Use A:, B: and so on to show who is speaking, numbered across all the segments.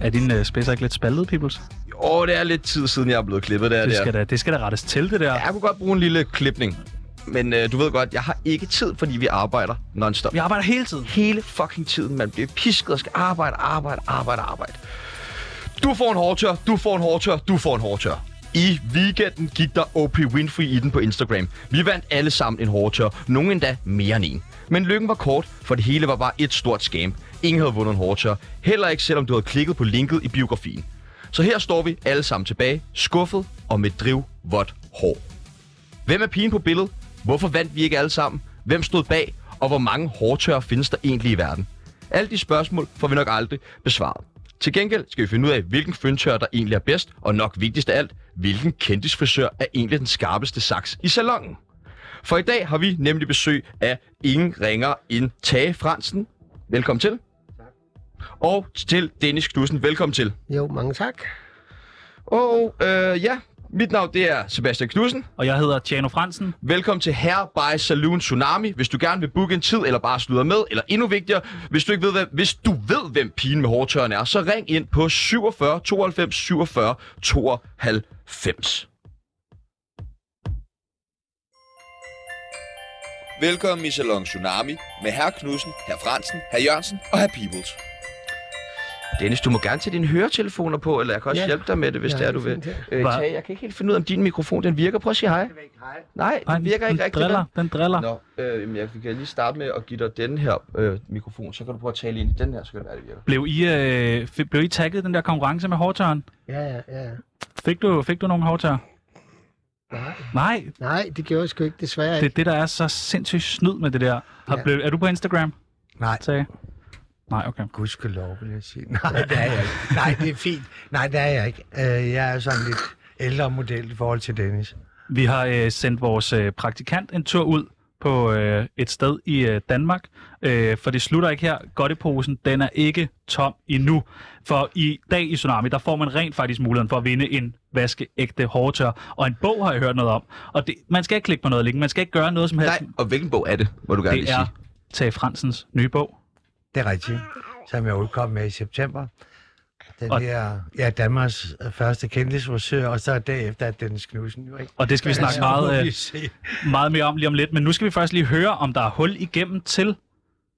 A: Er dine øh, spidser ikke lidt spaltet, Peoples?
B: Åh, det er lidt tid siden, jeg er blevet klippet der.
A: Det
B: der.
A: skal, da, det skal da rettes til, det der.
B: Jeg kunne godt bruge en lille klipning. Men øh, du ved godt, jeg har ikke tid, fordi vi arbejder nonstop.
A: Vi arbejder hele tiden.
B: Hele fucking tiden, man bliver pisket og skal arbejde, arbejde, arbejde, arbejde. Du får en hårdtør, du får en hårdtør, du får en hårdtør. I weekenden gik der Oprah Winfrey i den på Instagram. Vi vandt alle sammen en hårdtør, nogen endda mere end en. Men lykken var kort, for det hele var bare et stort scam. Ingen havde vundet en hårdtør, heller ikke selvom du havde klikket på linket i biografien. Så her står vi alle sammen tilbage, skuffet og med drivvådt hår. Hvem er pigen på billedet? Hvorfor vandt vi ikke alle sammen? Hvem stod bag? Og hvor mange hårdtør findes der egentlig i verden? Alle de spørgsmål får vi nok aldrig besvaret. Til gengæld skal vi finde ud af, hvilken føntør der egentlig er bedst, og nok vigtigst af alt, hvilken kendtisfrisør er egentlig den skarpeste saks i salongen. For i dag har vi nemlig besøg af ingen ringer end Tage Fransen. Velkommen til. Og til Dennis Knudsen. Velkommen til.
C: Jo, mange tak.
B: Og øh, ja, mit navn det er Sebastian Knudsen.
A: Og jeg hedder Tjano Fransen.
B: Velkommen til Her by Saloon Tsunami. Hvis du gerne vil booke en tid, eller bare sluder med, eller endnu vigtigere, hvis du ikke ved, hvem, hvis du ved, hvem pigen med hårdtøren er, så ring ind på 47 92 47 92. Velkommen i Salon Tsunami med herr Knudsen, herr Fransen, herr Jørgensen og herr Peoples. Dennis, du må gerne tage dine høretelefoner på, eller jeg kan også ja.
C: Ja.
B: hjælpe dig med det, hvis
C: Ja,
B: ja, det er, du
C: det er
B: vil.
C: fint,
B: Øh,
A: Hva-
B: Tage, jeg kan ikke helt finde ud af, om din mikrofon den virker. Prøv at sige hej. Nej,
A: Ej,
B: den virker ikke
A: den
B: rigtigt.
A: driller, den driller.
B: Nå, øh, jamen, jeg kan lige starte med at give dig den her øh, mikrofon, så kan du prøve at tale ind i den her, så kan det være, det virker.
A: Blev I, øh, f- blev I tagget i den der konkurrence med hårdtøren?
C: Ja, ja, ja. ja.
A: Fik du, fik du nogle hårdtør?
C: Nej.
A: Nej,
C: Nej, det gjorde jeg sgu ikke, desværre
A: det
C: ikke.
A: er det, der er så sindssygt snyd med det der. Har
C: Ja.
A: blevet, er du på Instagram?
D: Nej.
A: Tage? Nej, okay.
D: Gudskelov, vil jeg sige. Nej, det er jeg ikke. Nej, det er fint. Nej, det er jeg ikke. Øh, Jeg er sådan lidt ældre model i forhold til Dennis.
A: Vi har øh, sendt vores øh, praktikant en tur ud på øh, et sted i øh, Danmark, øh, for det slutter ikke her. Godteposen, den er ikke tom endnu. For i dag i Tsunami, der får man rent faktisk muligheden for at vinde en vaskeægte hårdtør. Og en bog har jeg hørt noget om. Og det, man skal ikke klikke på noget link, man skal ikke gøre noget som helst.
B: Nej, og hvilken bog er det, må du gerne
A: det
B: lige
A: er
B: sige?
A: Tage Fransens nye bog.
D: Det er rigtigt. Som jeg udkom med i september. Den
A: Og-
D: og... her, ja, Danmarks første kendtisforsøger, og så derefter er Dennis Knudsen jo ikke.
A: Og det skal vi snakke
D: Så må
A: meget,
D: vi
A: øh,
D: se.
A: meget mere om lige om lidt. Men nu skal vi først lige høre, om der er hul igennem til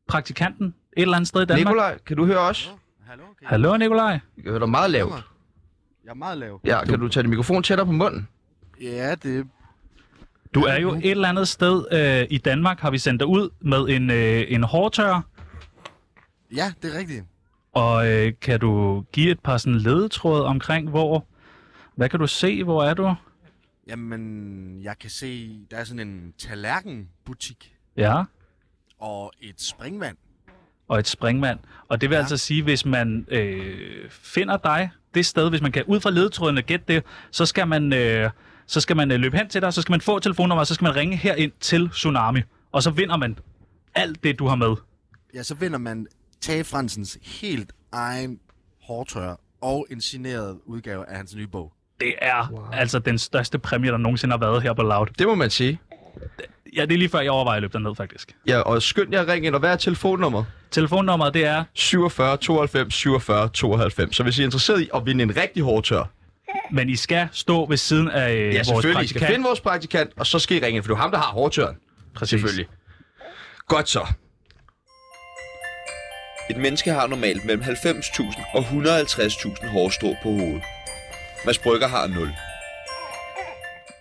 A: praktikanten et eller andet sted i Danmark.
B: Nikolaj, kan du høre os?
E: Hallo, kan I
A: Hallo Nikolaj.
B: Jeg kan høre dig meget
E: høre
B: lavt.
E: mig? Jeg er meget lav.
B: Ja, kan du tage din mikrofon tættere på munden?
E: Ja, det...
A: Du er jo et eller andet sted øh, i Danmark, har vi sendt dig ud med en, øh, en hårdtør,
E: Ja, det er rigtigt.
A: og øh, kan du give et par sådan ledetråde omkring, hvor... Hvad kan du se? Hvor er du?
E: Jamen, jeg kan se, der er sådan en tallerkenbutik
A: Ja,
E: og et springvand.
A: og et springvand. Og det vil ja.
E: Ja.
A: altså sige, hvis man øh, finder dig det sted, hvis man kan ud fra ledetrådene gætte det, så skal man, øh, så skal man øh, løbe hen til dig, så skal man få telefonnummer, og så skal man ringe herind til Tsunami. Og så vinder man alt det, du har med.
E: Ja, så vinder man Tage Fransens helt egen hårdtør og en signeret udgave af hans nye bog.
A: Det er wow. altså den største præmie, der nogensinde har været her på Loud.
B: Det må man sige.
A: Ja, det er lige før, jeg overvejer at løbe derned, faktisk.
B: Ja, og skynd jer at ringe ind, og hvad er telefonnummeret?
A: Telefonnummeret, det er,
B: 47 92 47 92. Så hvis I er interesseret i at vinde en rigtig hårdtør,
A: men I skal stå ved siden af øh,
B: ja,
A: vores
B: selvfølgelig. I skal
A: praktikant.
B: finde vores praktikant, og så skal I ringe ind, for det er jo ham, der har hårdtøren.
A: Præcis.
B: Selvfølgelig. Godt så. Et menneske har normalt mellem 90.000 og 150.000 hårstrå på hovedet. Mads Brygger har 0.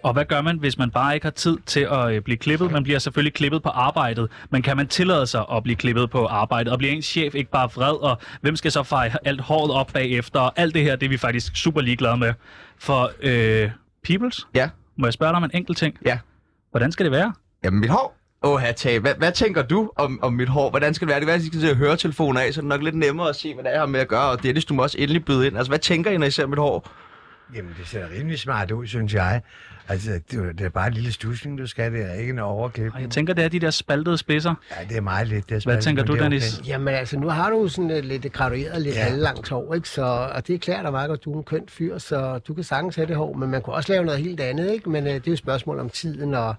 A: Og hvad gør man, hvis man bare ikke har tid til at øh, blive klippet? Man bliver selvfølgelig klippet på arbejdet, men kan man tillade sig at blive klippet på arbejdet? Og bliver ens chef ikke bare vred, og hvem skal så feje alt håret op bagefter? Og alt det her, det er vi faktisk super ligeglade med. For øh, Peoples,
B: Ja,
A: må jeg spørge dig om en enkelt ting?
B: ja.
A: Hvordan skal det være?
B: Jamen, mit hår. Åh, her Tage, hvad, hvad tænker du om, om mit hår? Hvordan skal det være? Det kan være, at I skal til at høre telefonen af, så det er nok lidt nemmere at se, hvad det er, jeg har med at gøre. Og Dennis, du må også endelig byde ind. Altså, hvad tænker I, når I ser mit hår?
D: Jamen, det ser rimelig smart ud, synes jeg. Altså, det, er jo- det er bare en lille stusning, du skal. Det er ikke en overklip.
A: Og jeg tænker, det er de der spaltede spidser.
D: Ja, det er meget lidt. Det er
A: Hvad
D: smalt,
A: tænker
D: men
A: du,
D: det er
A: Dennis?
C: Jamen altså, nu har du jo sådan et lidt gradueret, lidt
D: Ja.
C: ja. halvlangt hår, ikke? Så, og det klæder dig meget godt, du er en køn fyr, så du kan sagtens have det hår, men man kunne også lave noget helt andet, ikke? Men øh, det er jo et spørgsmål om tiden, og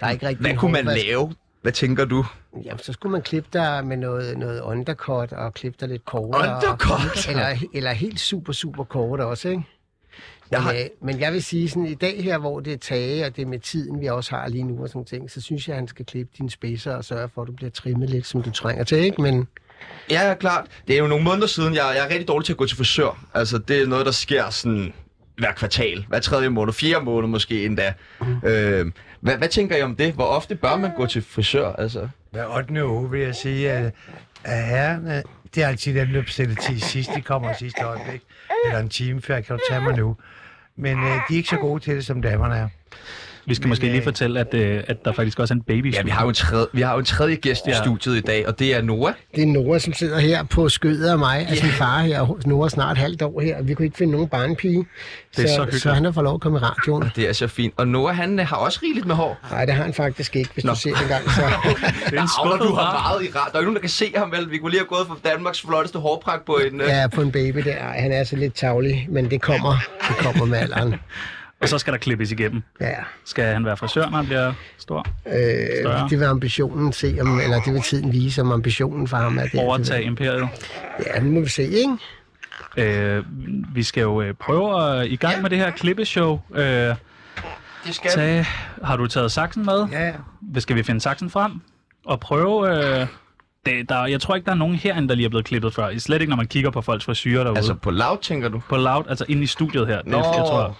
C: der er ikke rigtig...
B: Hvad
C: en
B: kunne man
C: hårvask.
B: lave? Hvad tænker du?
C: Jamen, så skulle man klippe dig med noget, noget undercut og klippe dig lidt kortere.
B: Undercut?
C: Og, eller, eller helt super, super kort også, ikke? Men,
B: Jeg har-
C: øh, men jeg vil sige sådan, i dag her, hvor det er tage, og det er med tiden, vi også har lige nu og sådan ting, så synes jeg, at han skal klippe dine spidser og sørge for, at du bliver trimmet lidt, som du trænger til, ikke? Men
B: Ja, ja, klart. Det er jo nogle måneder siden, jeg, jeg er rigtig dårlig til at gå til frisør. Altså, det er noget, der sker sådan hver kvartal. Hver tredje måned, fjerde måned måske endda. Øh, hvad, hvad tænker I om det? Hvor ofte bør man gå til frisør? Altså,
D: Hver 8. uge vil jeg sige, at, at herrerne, det er altid dem, der bestiller tid sidst. De kommer i sidste øjeblik, eller en time før, kan du tage mig nu. Men øh, de er ikke så gode til det, som damerne er.
A: Vi skal måske lige fortælle, at, øh, at der faktisk også er en baby.
B: ja, vi har, jo en tredje, vi har jo en tredje gæst ja. i
A: Ja.
B: studiet i dag, og det er Noah.
C: det er Nora, som sidder her på skødet af mig, altså min far her, og Nora er snart halvt år her, og vi kunne ikke finde nogen barnpige,
A: Det er så
C: så, så,
A: hyggeligt.
C: han har fået lov at komme i radioen.
B: Det er så fint. Og Noah, han øh, har også rigeligt med hår.
C: Nej, det har han faktisk ikke, hvis Nå.
B: Nå.
C: du ser det engang. Så.
A: Det er en
B: Agner,
A: skuffet
B: du har
A: far.
B: meget i rar. Der er jo nogen, der kan se ham, vel? Vi kunne lige have gået fra Danmarks flotteste hårpragt på en... øh, Ja.
C: Ja, på en baby der. Ej, Han er så lidt tavlig, men det kommer. Det kommer med alderen.
A: Og så skal der klippes igennem.
C: Ja.
A: Skal han være frisør, når han bliver stor? Større.
C: Øh, det vil ambitionen se, om, eller det vil tiden vise, om ambitionen for ham er det.
A: Overtage imperiet?
C: Ja, nu må vi se, ikke?
A: Øh, vi skal jo øh, prøve at i gang med det her klippeshow. Øh,
B: Det skal vi.
A: tage, har du taget saksen med?
D: Ja, ja.
A: Hvad Skal vi finde saksen frem og prøve... Øh, det, der, jeg tror ikke, der er nogen herinde, der lige er blevet klippet før. Slet ikke, når man kigger på folks frisyrer derude.
B: Altså,
A: Altså,
B: på lav, tænker du?
A: på loud, altså inde i studiet her. Det, jeg tror,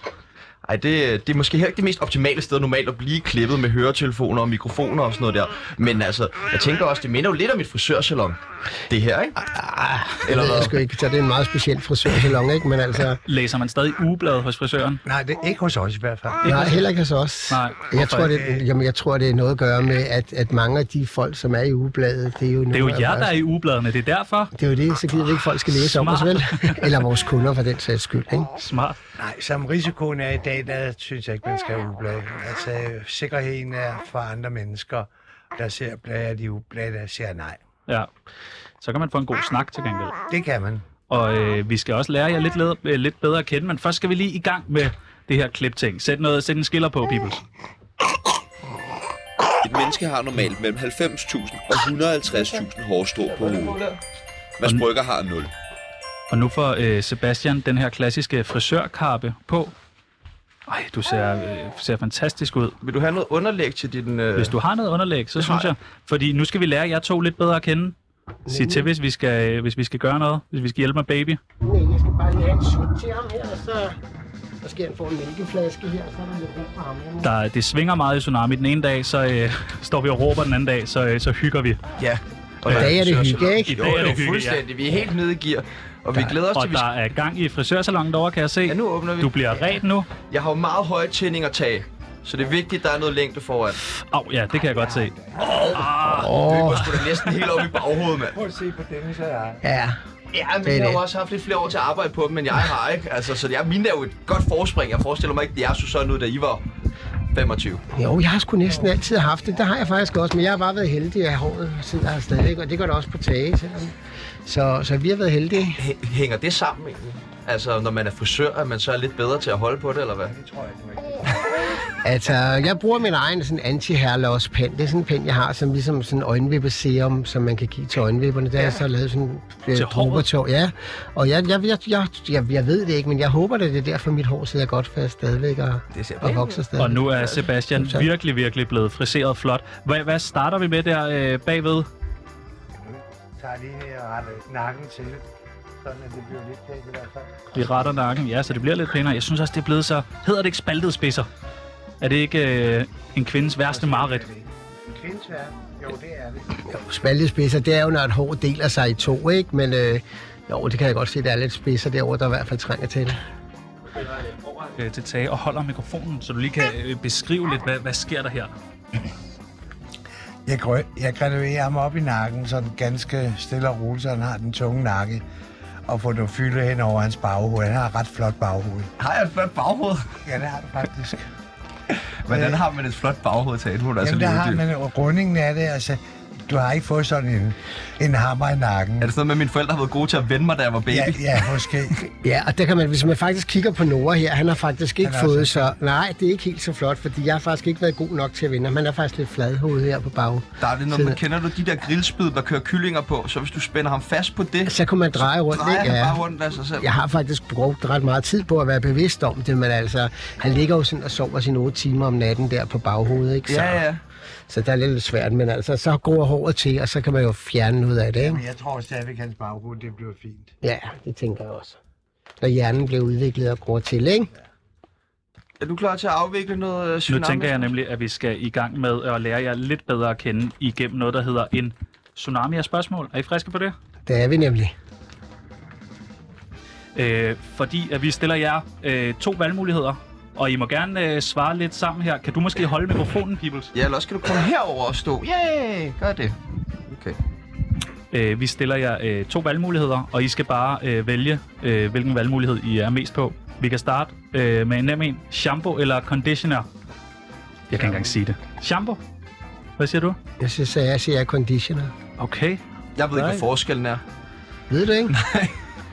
B: Ej, det, det er måske heller ikke det mest optimale sted normalt at blive klippet med høretelefoner og mikrofoner og sådan noget der. Men altså, jeg tænker også, det minder jo lidt om et frisørsalon. Det her, ikke? Eller
C: Det ved jeg sgu
B: hvad?
C: ikke. Så det er en meget speciel frisørsalon, ikke? Men altså,
A: læser man stadig ugeblad hos frisøren?
D: Nej, det er ikke hos os i hvert fald.
C: nej, heller ikke hos os.
A: Nej,
C: jeg
A: hvorfor
C: tror, det, jamen, jeg tror, det er noget at gøre med, at, at mange af de folk, som er i ugebladet, det er jo...
A: Det er jo jer, der er i ugebladene. Det er derfor.
C: Det er jo det, så gider vi ikke, folk skal læse om os, vel? Eller vores kunder, for den sags skyld, ikke?
A: Smart.
D: Nej, som risikoen er i dag, der synes jeg ikke, man skal ublade. Altså, øh, sikkerheden er for andre mennesker, der ser blader, de ublade, der siger nej.
A: Ja. Så kan man få en god snak til gengæld.
D: Det kan man.
A: Og
B: Ah.
A: øh, vi skal også lære jer lidt, led- øh, lidt bedre at kende, men først skal vi lige i gang med det her klipting. Sæt, noget, sæt en skiller på, Peoples.
F: Et menneske har normalt mellem 90.000 og 150.000 hårstrå på hovedet. Mads Brygger har 0.
A: Og nu får øh, Sebastian den her klassiske frisørkappe på. Ej, du ser, øh, ser fantastisk ud.
B: Vil du have noget underlæg til din... Øh...
A: Hvis du har noget underlæg, så synes jeg... Fordi nu skal vi lære jer to lidt bedre at kende. Sig til, hvis vi skal, øh, hvis vi skal gøre noget. Hvis vi skal hjælpe med baby.
C: Nej, jeg skal bare lige have en sut til ham her, og så... Så skal han få en mælkeflaske her, så er der lidt brug for ham. ikke?
A: Der, det svinger meget i Tsunami. Den ene dag, så øh, står vi og råber, den anden dag, så, øh, så hygger vi.
B: Ja. Og
C: I dag er det hygge,
A: I
C: ikke?
A: dag er det hygge, ja.
B: fuldstændig. Vi er helt nede i gear. Og vi glæder os
A: Og
B: til, vi
A: der er gang i frisørsalongen derovre, kan jeg se.
B: Ja, nu åbner vi.
A: Du bliver ret nu.
B: Jeg har jo meget høje tændinger tage. Så det er vigtigt, at der er noget længde foran.
A: Åh, oh, ja, det kan jeg godt se.
B: Oh. Det går sgu da næsten helt op i baghovedet, mand.
D: Prøv at se på Dennis og jeg.
C: Ja,
B: Ja, men
C: Det er
B: jeg har
C: det.
B: jo også haft lidt flere år til at arbejde på dem, men jeg har ikke. Altså, så jeg, mine er jo et godt forspring. Jeg forestiller mig ikke, at jeg så sådan ud, da I var 25.
C: Jo, jeg har sgu næsten altid haft det. Det har jeg faktisk også, men jeg har bare været heldig, at håret sidder her stadig, og det gør det også på tage. selvom- Så, så vi har været heldige.
B: Hæ- Hænger det sammen egentlig? Altså, når man er frisør, er man så lidt bedre til at holde på det, eller hvad?
C: Altså, jeg bruger min egen sådan anti pen. Det er sådan en pen, jeg har, som ligesom sådan en øjenvippeserum, som man kan give til øjenvipperne. Der er jeg så lavet sådan øh,
A: Til håret?
C: dråbertår. Ja, og jeg, jeg, jeg, jeg, jeg, jeg, ved det ikke, men jeg håber, at det er derfor, mit hår sidder godt fast stadigvæk og,
B: Det ser
C: og vokser stadigvæk.
A: Og nu er Sebastian
C: tak.
A: virkelig, virkelig blevet friseret flot. Hvad, hvad starter vi med der øh, bagved?
D: tager lige ned og retter nakken til, sådan at det bliver lidt pænt i hvert fald.
A: Vi retter nakken, ja, så det bliver lidt pænere. Jeg synes også, det er blevet så... Hedder det ikke spaltede spidser? Er det ikke øh, en kvindes værste mareridt?
D: En kvindes verden, jo det er det.
C: Spaltespidser, det er jo, når et hår deler sig i to, ikke? Men øh, jo, det kan jeg godt se, der er lidt spidser derovre, der i hvert fald trænger til. det.
A: Øh, til tage og holder mikrofonen, så du lige kan øh, beskrive lidt, hvad, hvad sker der her?
D: Jeg, grø- jeg graduerer ham op i nakken, sådan ganske stille og roligt, så han har den tunge nakke og får noget fylde hen over hans baghoved. Han har et ret flot baghoved.
B: Har jeg et flot baghoved?
D: Ja, det har han faktisk.
B: Hvordan har man et flot baghoved til? Nu er Altså, det
D: Øh. Jamen, der har
B: lige
D: man jo rundingen af det, altså. Du har ikke fået sådan en, en hammer i nakken.
B: Er det sådan noget med, at mine forældre har været gode til at vende mig, da jeg var baby?
D: Ja, ja, måske.
C: Ja, og der kan man, hvis man faktisk kigger på Nora her, han har faktisk ikke
D: Han er
C: fået
D: også-
C: så... Nej, det er ikke helt så flot, fordi jeg har faktisk ikke været god nok til at vinde. Han er faktisk lidt fladhoved her på bag.
B: Der er det noget, man kender du de der grillspyd, der kører kyllinger på, så hvis du spænder ham fast på det,
C: Så kunne man dreje rundt,
B: drejer han
C: ikke?
B: bare rundt af sig selv.
C: Jeg har faktisk brugt ret meget tid på at være bevidst om det, men altså, han ligger jo sådan og sover sine 8 timer om natten der på baghovedet, ikke? Så,
B: Ja, ja.
C: så der er lidt svært, men altså, så gror håret til, og så kan man jo fjerne noget af det, ikke?
D: Men jeg tror stadigvæk, hans baggrund, det bliver fint.
C: Ja, det tænker jeg også. Når hjernen bliver udviklet og gror til, ikke?
B: Er du klar til at afvikle noget øh,
A: Nu
B: tsunami?
A: tænker jeg nemlig, at vi skal i gang med at lære jer lidt bedre at kende igennem noget, der hedder en tsunami af spørgsmål. Er I friske på det?
C: Det er vi nemlig.
A: Øh, fordi at vi stiller jer øh, to valgmuligheder, og I må gerne øh, svare lidt sammen her. Kan du måske holde mikrofonen, Peoples?
B: Ja, eller også skal du komme herover og stå. Yeah, gør det. Okay.
A: Øh, vi stiller jer øh, to valgmuligheder, og I skal bare øh, vælge, øh, hvilken valgmulighed I er mest på. Vi kan starte øh, med en nem en. Shampoo eller conditioner? Jeg kan ikke engang sige det. Shampoo? Hvad siger du?
C: Jeg synes, at jeg siger conditioner.
A: Okay.
B: Jeg ved ikke,
A: Nej.
B: hvad forskellen er.
C: Ved du ikke?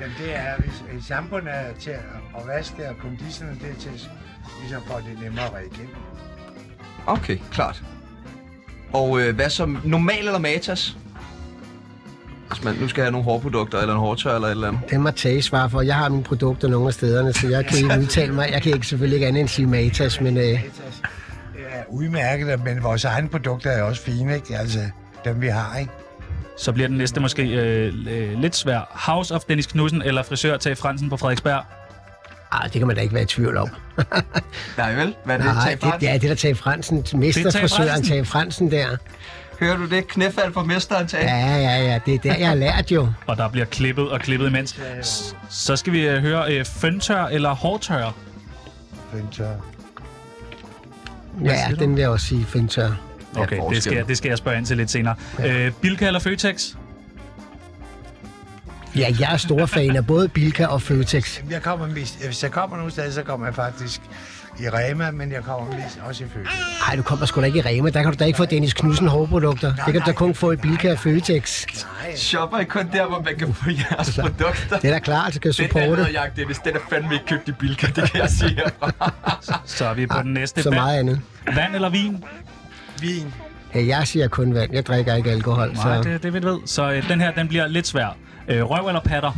D: Jamen det er, hvis øh, shampooen er til at, at vaske det, og konditionen det er til, ligesom for at det er nemmere at være igennem.
B: Okay, klart. Og øh, hvad som normal eller matas? Hvis man nu skal have nogle hårprodukter, eller en hårtør, eller et eller andet.
C: Det må Tage svare for. Jeg har mine produkter nogle af stederne, så jeg kan ikke udtale mig. Jeg kan ikke selvfølgelig ikke andet end sige Matas, men øh,
D: Matas altså, er udmærket, men vores egne produkter er også fine, ikke? Altså, dem vi har, ikke?
A: Så bliver den næste måske øh, øh, lidt svær. House of Dennis Knudsen eller frisør til Fransen på Frederiksberg?
C: ah, det kan man da ikke være i tvivl om.
B: Nej vel? Hvad er det,
C: Nej,
B: Tage
C: det,
B: det,
C: ja, det er der Tage Fransen, mesterfrisøren
A: Fransen.
C: Tage Fransen der.
B: Hører du det? Knæfald fra mesteren, Tage.
C: Ja, ja, ja, det er der, jeg har lært jo.
A: Og der bliver klippet og klippet imens. S- Så skal vi øh, høre øh, føntør eller hårtør?
D: Føntør.
C: Ja, den vil jeg også sige, Fintør.
A: Okay, det skal, jeg, det skal jeg spørge ind til lidt senere. Øh, Bilka eller Føtex?
C: Ja, jeg er stor fan af både Bilka og Føtex.
D: Jamen, Jeg kommer mest, hvis jeg kommer nogen steder, så kommer jeg faktisk i Rema, men jeg kommer mest også i Føtex.
C: Nej, du kommer sgu da ikke i Rema. Der kan du da ikke få Dennis Knudsen hårprodukter. Det kan du da kun få i Bilka og Føtex.
B: Shopper I kun der, hvor man kan få jeres produkter?
C: Det er da klart, du kan
B: Den der
C: supporte.
B: lederjagt, Dennis, den er fandme ikke købt i Bilka, det kan jeg sige herfra.
A: Så er vi på den næste.
C: Ah, Så
A: Vand-
C: meget andet.
A: Vand eller vin?
D: Vin.
C: Ja, jeg siger kun vand. Jeg drikker ikke alkohol,
A: Nej,
C: så...
A: det, det ved ved. Så øh, den her, den bliver lidt svær. Øh, røv eller patter?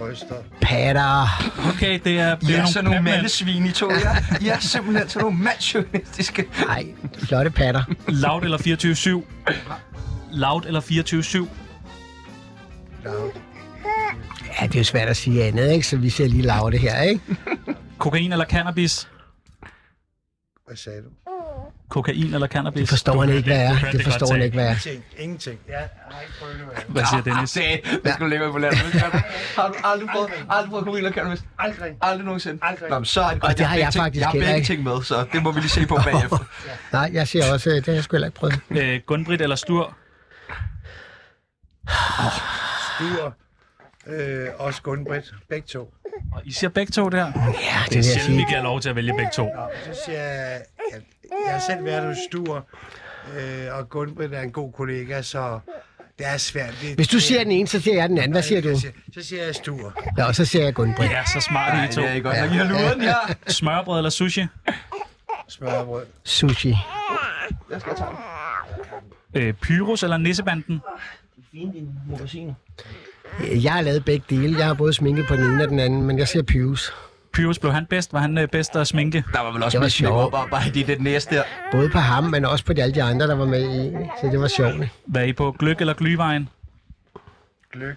D: Røster.
C: Patter.
A: Okay, det er... Det
B: I
A: er
B: er sådan nogle
A: mandmænd.
B: mandesvin, I to. Ja, I er simpelthen sådan nogle mandsjournalistiske.
C: Nej, flotte patter.
A: Loud eller 24-7? Loud eller 24-7?
C: Ja, det er jo svært at sige andet, ikke? Så vi ser lige lave det her, ikke?
A: Kokain eller cannabis?
D: Hvad sagde du?
A: Kokain eller cannabis?
C: Det forstår han ikke, hvad
A: du
C: er.
A: hørte
C: Det
A: det godt,
C: forstår han
A: Tage.
C: ikke, hvad er.
D: Ingenting. Ingenting. Jeg har ikke prøvet det. men-
A: Hvad siger Dennis?
B: Sagde, det skulle ligge på landet. Har du aldrig prøvet, aldrig prøvet kokain og cannabis?
D: Aldrig.
B: Aldrig nogensinde.
D: Aldrig.
B: Nå, men så er det godt.
C: Og det har
B: begge
C: jeg
B: ting-
C: faktisk
B: Jeg har
C: heller
B: begge
C: ikke.
B: ting med, så det må vi lige se på bagefter.
C: Nej, jeg siger også, øh, det har jeg sgu heller ikke prøvet.
A: Øh, Gunbrit eller Stur?
D: Stur. Øh, også Gunn-Britt. Begge to.
A: Og I siger begge to der.
C: Ja, det
A: Det er
C: vil jeg
A: sjældent, vi
C: sige.
A: giver lov til at vælge begge to.
D: Nå, så siger jeg, jeg, jeg har selv været hos Stur, øh, og Gunn-Britt er en god kollega, så det er svært. Det,
C: Hvis du
D: det-
C: siger den ene, så siger jeg den anden. Hvad siger du?
D: Så siger, så siger jeg Stur.
C: Ja, og så siger jeg Gunn-Britt.
A: Ja, så smart I to.
B: Det er godt. nok, I har luret den her.
A: Smørbrød eller sushi?
D: Smørbrød.
C: Sushi.
A: Øh, Pyrus eller Nissebanden?
C: Jeg har lavet begge dele. Jeg har både sminket på den ene og den anden, men jeg siger Pius.
A: Pyrus, blev han bedst? Var han øh, bedst at sminke?
B: Der var vel også
C: Det var
B: mest make-up
C: sjovt.
B: bare, bare det er den næste der.
C: Både på ham, men også på de, alle de andre, der var med i. ikke? Så det var sjovt. ikke?
A: Var I på gløk eller glyvejen?
D: Gløk.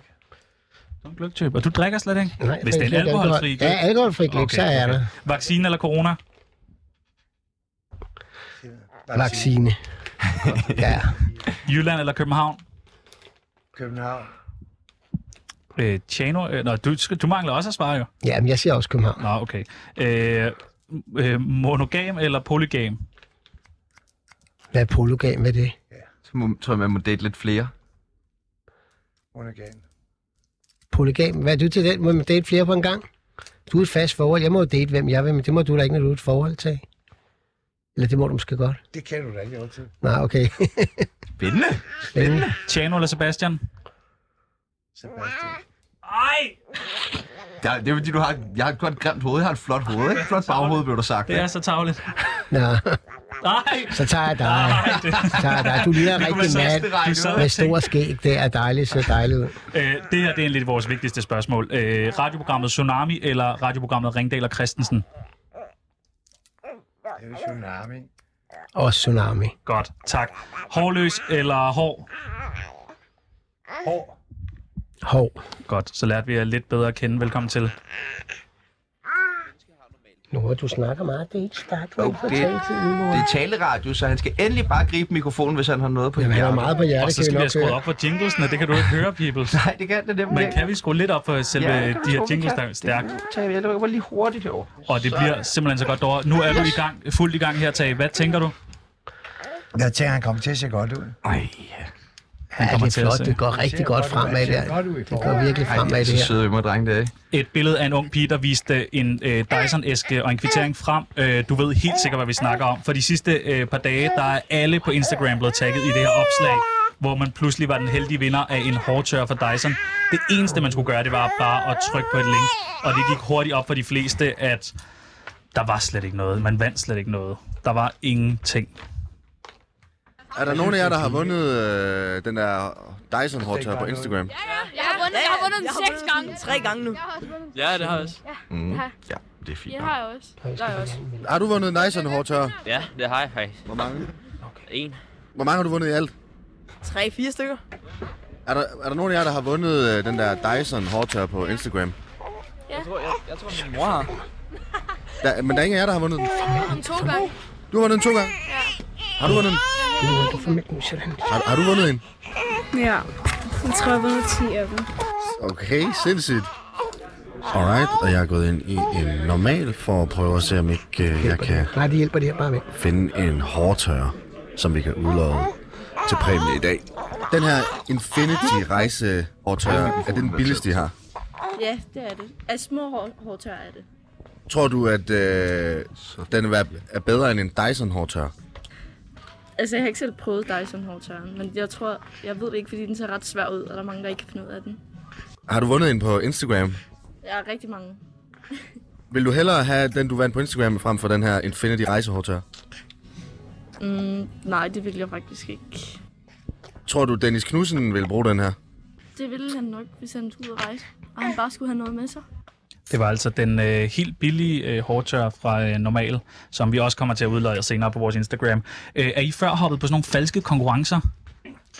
A: Du er en gløgtype, og du drikker slet ikke?
C: Nej,
A: Hvis det er en
C: faktisk ikke
A: alkoholfri gløk.
C: Ja, alkoholfri gløb, så er der
A: Vaccine eller corona?
C: vaccine. ja.
A: Jylland eller København?
D: København.
A: Øh, Tjano, øh, nå, du, skal- du mangler også at svare jo.
C: Jamen, jeg siger også København.
A: Nå, okay. Øh, øh, monogam eller polygam?
C: Hvad er polygam med det?
B: Så må, tror jeg, man må date lidt flere.
D: Undergan.
C: Polygam, hvad er du til den? Må man date flere på en gang? Du er et fast forhold. Jeg må jo date, hvem jeg vil, men det må du da ikke, når du er et forhold til. Eller det må du måske godt.
D: Det kan du da ikke altid.
C: Nej, okay.
B: Spændende.
C: Spændende.
A: Tjano eller Sebastian?
D: Sebastian.
B: Ja, det er fordi, du har, et- jeg har et godt grimt hoved. Jeg har et flot hoved, ikke? Et flot baghoved, blev der sagt.
A: Det er så tavligt.
C: Nå,
A: Nej!
C: så tager jeg dig.
A: Nej, det,
C: Så tager jeg dig. Du ligner
B: Det kunne
C: rigtig
B: man
C: mand
B: sagtens regne
A: Du sad-
B: ud.
C: med stor skæg. Det er dejligt, så dejligt ud.
A: øh, det her det er en lidt vores vigtigste spørgsmål. Øh, radioprogrammet Tsunami eller radioprogrammet Ringdal og Christensen?
D: Det er jo tsunami.
C: Og tsunami.
A: Godt, tak. Hårløs eller hår?
D: Hår.
C: Hov.
A: Godt, så lærte vi jer lidt bedre at kende. Velkommen til.
C: Nå, du snakker meget. Det er ikke stærkt. Du har ikke fået
B: det-
C: talt til endnu.
B: Det er taleradio, så han skal endelig bare gribe mikrofonen, hvis han har noget på
C: Jamen, han
B: hjertet.
C: er meget på hjertet,
A: Og så
C: kan vi
A: skal vi have
C: nok
A: skruet
C: høre.
A: op for jinglesene. Det kan du ikke høre, people.
B: Nej, det kan det nemlig
A: Men
B: ikke.
A: kan vi skrue lidt op for selve
B: Ja, det
A: ja,
B: kan
A: de
B: vi
A: her
B: sgu, vi
A: jingles,
B: kan.
A: der er stærkt?
B: Tag, jeg lukker lige hurtigt herovre.
A: Og det bliver simpelthen så godt derovre. Nu er du i gang, fuldt i gang her, Tage. Hvad tænker du?
D: Jeg tænker, han kommer til at se godt ud.
C: Ja, det
A: kommer
C: er
A: til at
C: flot.
A: se.
C: Det går rigtig
D: ser
C: godt
D: godt ud,
C: fremad
D: han ser
C: der.
D: godt ud i
C: Det går
D: forvejen.
C: virkelig fremad i det her.
B: søde yngre dreng, det er.
A: Et billede af en ung pige, der viste en øh, Dyson-æske og en kvittering frem. Øh, du ved helt sikkert, hvad vi snakker om. For de sidste øh, par dage, der er alle på Instagram blevet tagget i det her opslag, hvor man pludselig var den heldige vinder af en hårdtør for Dyson. Det eneste, man skulle gøre, det var bare at trykke på et link. Og det gik hurtigt op for de fleste, at der var slet ikke noget. Man vandt slet ikke noget. Der var ingenting.
E: Er der nogen af jer, der har vundet øh, den der Dyson Hot på Instagram?
G: Jeg har vundet, jeg har vundet den seks gange.
H: Tre gange nu.
G: Jeg har også vundet den.
I: Ja, det har jeg også.
B: Mm. Ja, det er fint.
G: Det har jeg også. Der er også.
E: Har du vundet Dyson Hot
I: Ja, det har jeg faktisk.
E: Hvor mange?
I: En.
E: Hvor mange har du vundet i alt?
H: Tre, fire stykker.
E: Er der, er der nogen af jer, der har vundet øh, den der Dyson Hot på Instagram?
I: Jeg tror, jeg, jeg tror min mor har.
E: Der, men der er ingen af jer, der har vundet den.
G: Den to gange.
E: Du har vundet den to gange. Har du vundet den? Har, har du vundet en?
J: Ja. Jeg tror, jeg har vundet 10 af dem.
E: Okay, sindssygt. Alright, og jeg er gået ind i en normal for at prøve at se, om ikke øh, jeg kan
C: Nej, de hjælper det her bare med.
E: finde en hårdtørrer, som vi kan udlove til præmie i dag. Den her Infinity rejse hårdtørrer, er det den billigste, I har?
J: Ja, det er det. Af små hår, hårtør er det.
E: Tror du, at øh, den vil være- er bedre end en Dyson hårdtørrer?
J: Altså, jeg har ikke selv prøvet dig som hårtørren, men jeg tror, jeg ved det ikke, fordi den ser ret svær ud, og der er mange, der ikke kan finde ud af den.
E: Har du vundet en på Instagram?
J: Jeg er rigtig mange.
E: Vil du hellere have den, du vandt på Instagram, frem for den her Infinity rejse hårdtørrer?
J: Mm, nej, det vil jeg faktisk ikke.
E: Tror du, Dennis Knudsen vil bruge den her?
J: Det ville han nok, hvis han skulle ud og rejse, og han bare skulle have noget med sig.
A: Det var altså den øh, helt billige øh, hårdtør fra øh, Normal, som vi også kommer til at udløje senere på vores Instagram. Øh, er I før hoppet på sådan nogle falske konkurrencer?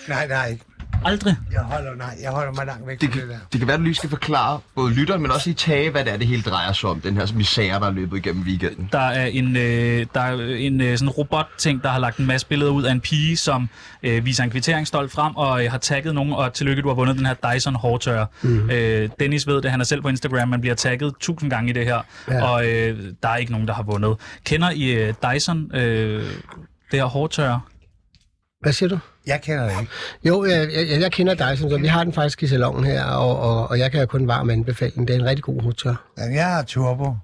D: Nej, nej.
A: Aldrig.
D: Jeg holder, nej, jeg holder mig langt væk
B: Det
D: fra
B: kan,
D: det der.
B: det kan være, du lige skal forklare både lytteren, men også i tage, hvad det er, det hele drejer sig om. Den her misære, der er løbet igennem weekenden.
A: Der er en, øh, der er en øh, sådan robotting, der har lagt en masse billeder ud af en pige, som øh, viser en kvitteringsstolt frem og øh, har tagget nogen, og tillykke, du har vundet den her Dyson hårdtørrer. Mm. Øh, Dennis ved det, han er selv på Instagram, man bliver tagget tusind gange i det her, ja. og øh, der er ikke nogen, der har vundet. Kender I øh, Dyson, øh, det her hårdtørrer?
C: Hvad siger du?
D: Jeg kender det ikke.
C: Jo, jeg, jeg, jeg kender dig, som så vi har den faktisk i salongen her, og, og, og jeg kan jo kun varm anbefale den. Det er en rigtig god hotør.
D: Jamen, jeg har turbo.